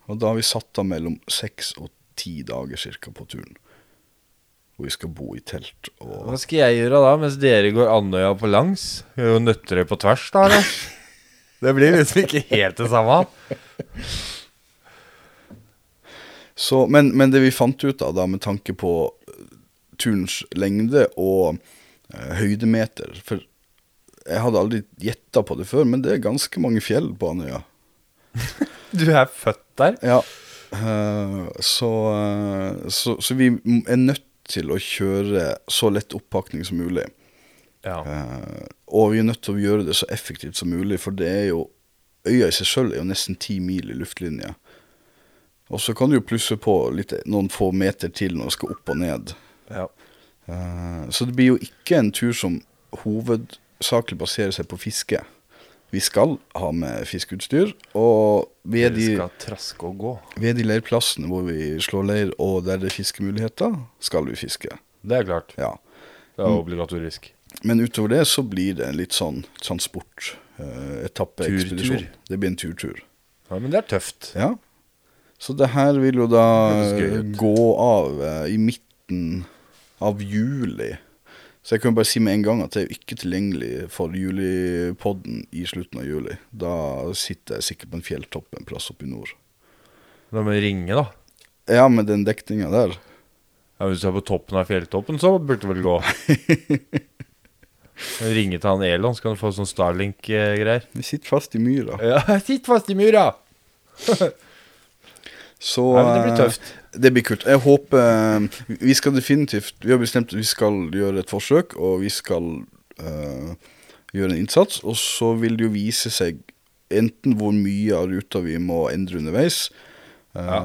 C: Og da har vi satt av mellom seks og ti dager cirka på turen. Hvor vi skal bo i telt og
B: Hva skal jeg gjøre da, mens dere går Andøya på langs? Gjør jo Nøtterøy på tvers, da, eller? <laughs> Det blir liksom ikke helt det samme.
C: Så, men, men det vi fant ut av da, med tanke på eh, turens lengde og eh, høydemeter For jeg hadde aldri gjetta på det før, men det er ganske mange fjell på Andøya.
B: Du er født der.
C: Ja. eh, så, eh, så, så vi m- er nødt til å kjøre så lett oppakning som mulig.
B: Ja.
C: Eh, og vi er nødt til å gjøre det så effektivt som mulig, for det er jo Øya i seg sjøl er jo nesten ti mil i luftlinje. Og så kan du jo plusse på litt, noen få meter til når du skal opp og ned.
B: ja.
C: Eh, så det blir jo ikke en tur som hovedsakelig baserer seg på fiske. Vi skal ha med fiskeutstyr, og ved
B: Dere
C: de,
B: skal traske og gå.
C: ved de leirplassene hvor vi slår leir og der det er fiskemuligheter, skal vi fiske.
B: Det er klart.
C: Ja.
B: Det er obligatorisk.
C: Men utover det så blir det en litt sånn transportetappeekspedisjon.
B: Tur-tur.
C: det blir en turtur.
B: Ja, men det er tøft.
C: Ja. Så det her vil jo da
B: Det høres gøy ut.
C: gå av eh, i midten av juli. Så jeg kan bare si med en gang at det er jo ikke tilgjengelig for julipodden i slutten av juli. Da sitter jeg sikkert på en fjelltopp en plass oppe i nord.
B: Da må vi ringe, da.
C: Ja, med den dekninga der.
B: Ja, hvis du er på toppen av fjelltoppen, så burde det vel gå. <laughs> Ringe til han Elon, så kan du få sånn Starlink-greier.
C: Vi sitter fast i myra.
B: Ja, <laughs> Sitt fast i mura!
C: Så
B: Nei, men det blir
C: eh,
B: tøft.
C: Det blir kult. Jeg håper eh, Vi skal definitivt Vi har bestemt at vi skal gjøre et forsøk, og vi skal eh, gjøre en innsats. Og så vil det jo vise seg enten hvor mye av ruta vi må endre underveis. eh,
B: Ja.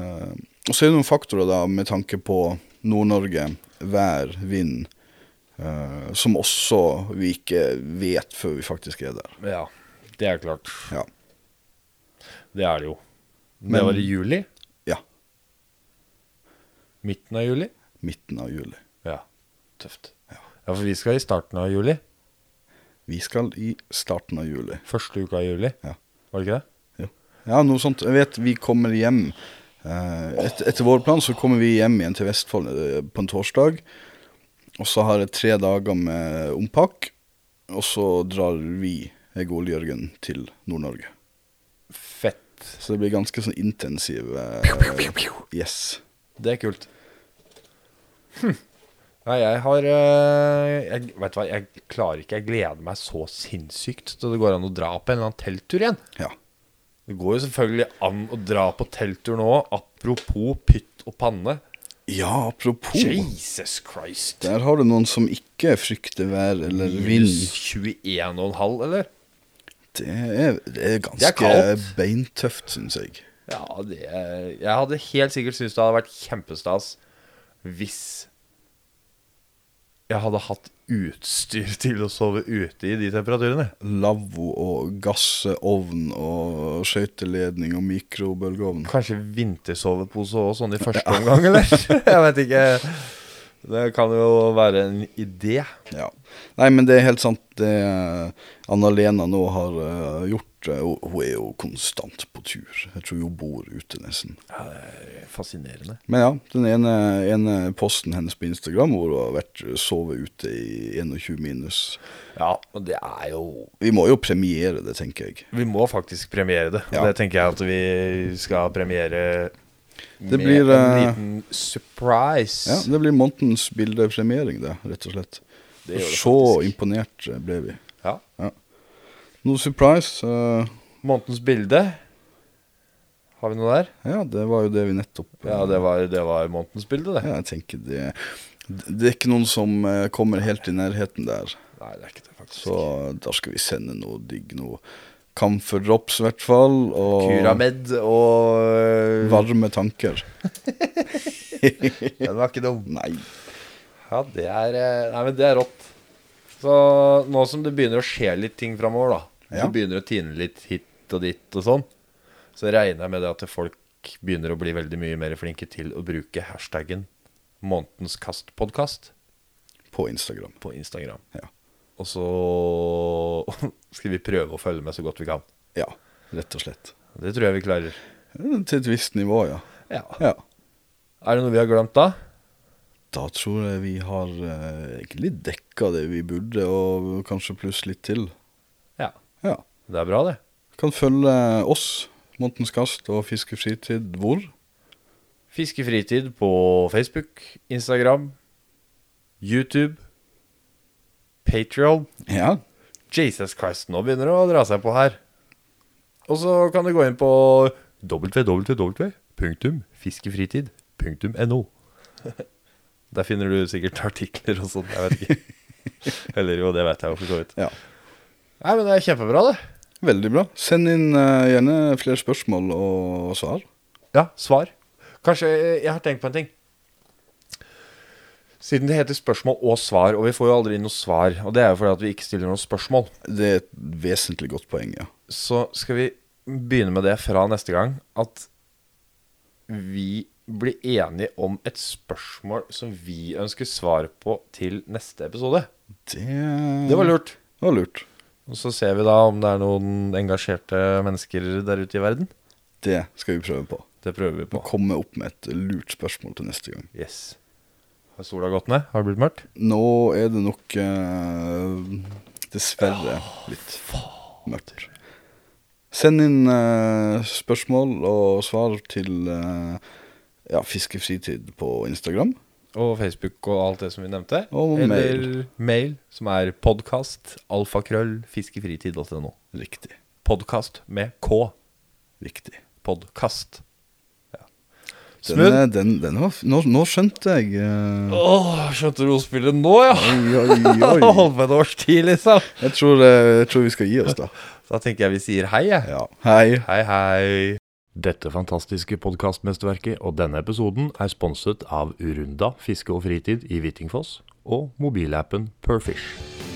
C: Og så er det noen faktorer da med tanke på Nord-Norge, vær, vind, eh, som også vi ikke vet før vi faktisk er der.
B: Ja, det er klart.
C: Ja.
B: Det er det jo. Men det
C: Men-
B: var i juli?
C: ja
B: Midten av juli?
C: midten av juli.
B: Ja. Tøft. Ja, for vi skal i starten av juli.
C: Vi skal i starten av juli.
B: Første uka av juli.
C: Ja.
B: Var det ikke det?
C: Jo. Ja, noe sånt. Jeg vet vi kommer hjem eh, et, Etter vår plan så kommer vi hjem igjen til Vestfold eh, på en torsdag. Og så har jeg tre dager med ompakk. Og så drar vi, jeg og Ole Jørgen, til Nord-Norge.
B: Fett.
C: Så det blir ganske sånn intensiv eh, Yes.
B: Det er kult. Hm. Nei, jeg har eh, jeg, Vet du hva, jeg klarer ikke. Jeg gleder meg så sinnssykt til det går an å dra på en eller annen telttur igjen.
C: Ja.
B: Det går jo selvfølgelig an å dra på telttur nå. Apropos pytt og panne.
C: ja, apropos
B: Jesus Christ.
C: Der har du noen som ikke frykter vær eller vind.
B: Minus 21,5, eller?
C: Det er, det er ganske
B: kaldt.
C: beintøft, syns jeg.
B: Ja, det Jeg hadde helt sikkert syntes det hadde vært kjempestas hvis jeg hadde hatt utstyr <laughs> til å sove ute i de temperaturene.
C: Lavvo og gassovn og skøyteledning og mikrobølgeovn.
B: Kanskje vintersovepose òg, sånn i første omgang, eller? Jeg vet ikke. Det kan jo være en idé.
C: Ja. Nei, men det er helt sant det eh, Anna-Lena nå har eh, gjort. eh, hun- Hun er jo konstant på tur. Jeg tror hun bor ute nesten.
B: Ja, det er fascinerende.
C: Men ja, den ene, ene posten hennes på Instagram hvor hun har vært eh, sovet ute i 21 minus.
B: Ja, og det er jo
C: Vi må jo premiere det, tenker jeg.
B: Vi må faktisk premiere det.
C: Ja.
B: Det tenker jeg at vi skal premiere
C: Det blir,
B: med en
C: eh,
B: liten surprise.
C: Ja, Det blir månedens bildepremiering, det, rett og slett.
B: Det gjør det
C: Så
B: faktisk.
C: imponert eh, ble vi.
B: Ja.
C: Noe surprise? eh,
B: Månedens bilde. Har vi noe der?
C: ja, det var jo det vi nettopp eh,
B: Ja, det var, det var månedens bilde, det.
C: Ja, jeg tenker det Det er ikke noen som eh, kommer helt i nærheten der.
B: Nei, det er ikke det, faktisk.
C: Så da skal vi sende noe digg noe. Camphor drops, i hvert fall. Og
B: Curamed og eh,
C: varme tanker.
B: Den var ikke dum.
C: Nei.
B: Ja, det er eh, Nei, men det er rått. Så nå som det begynner å skje litt ting framover, da.
C: Ja.
B: Det begynner å tine litt hit og dit og sånn. Så regner jeg med det at folk begynner å bli veldig mye mer flinke til å bruke hashtaggen månedens kastpodkast
C: På Instagram.
B: på Instagram.
C: Ja.
B: Og så <laughs> skal vi prøve å følge med så godt vi kan.
C: ja. Rett og slett.
B: Det tror jeg vi klarer.
C: Til et visst nivå, ja.
B: Ja.
C: ja.
B: Er det noe vi har glemt da?
C: Da tror jeg vi har eh, egentlig dekka det vi burde, og kanskje pluss litt til.
B: Ja.
C: Ja.
B: Det er bra, det.
C: Kan følge oss, Montens Kast og Fiskefritid, hvor?
B: Fiskefritid på Facebook, Instagram, YouTube, Patreon
C: Ja.
B: Jesus Christ, nå begynner det å dra seg på her. Og så kan du gå inn på www.fiskefritid.no. Der finner du sikkert artikler og sånt. Jeg vet ikke. Eller jo, det vet jeg jo for så vidt.
C: ja.
B: Nei, men det er kjempebra, det.
C: Veldig bra. Send inn eh, gjerne flere spørsmål og svar.
B: Ja, svar. Kanskje eh, Jeg har tenkt på en ting. Siden det heter spørsmål og svar, og vi får jo aldri inn noe svar, og det er jo fordi at vi ikke stiller noen spørsmål,
C: Det er et vesentlig godt poeng, ja.
B: så skal vi begynne med det fra neste gang at vi blir enige om et spørsmål som vi ønsker svar på til neste episode.
C: Det,
B: Det var lurt.
C: Det var lurt.
B: Og så ser vi da om det er noen engasjerte mennesker der ute i verden.
C: Det skal vi prøve på.
B: Det prøver vi
C: Må
B: på.
C: komme opp med et lurt spørsmål til neste gang.
B: Yes. Har sola gått ned? Har det blitt mørkt?
C: Nå er det nok eh, dessverre litt mørkt. Send inn eh, spørsmål og svar til eh, ja, Fiskefritid på Instagram.
B: og Facebook og alt det som vi nevnte.
C: Og
B: eller
C: mail.
B: mail. som er podkast alfakrøll fiskefritid.no.
C: Riktig.
B: Podkast med K.
C: Riktig.
B: Podkast. Ja.
C: Den,
B: Smooth.
C: er- den, den var, f- nå, nå skjønte jeg eh,
B: Åh, skjønte du ordspillet nå, ja?
C: Oi, oi,
B: <laughs>
C: oi.
B: Holdt på et års tid, liksom.
C: Jeg tror, eh, jeg tror vi skal gi oss, da.
B: Da tenker jeg vi sier hei, jeg.
C: Ja. Hei.
B: Hei, hei.
A: Dette fantastiske podkastmesterverket og denne episoden er sponset av Urunda fiske og fritid i Hvittingfoss og mobilappen Perfish.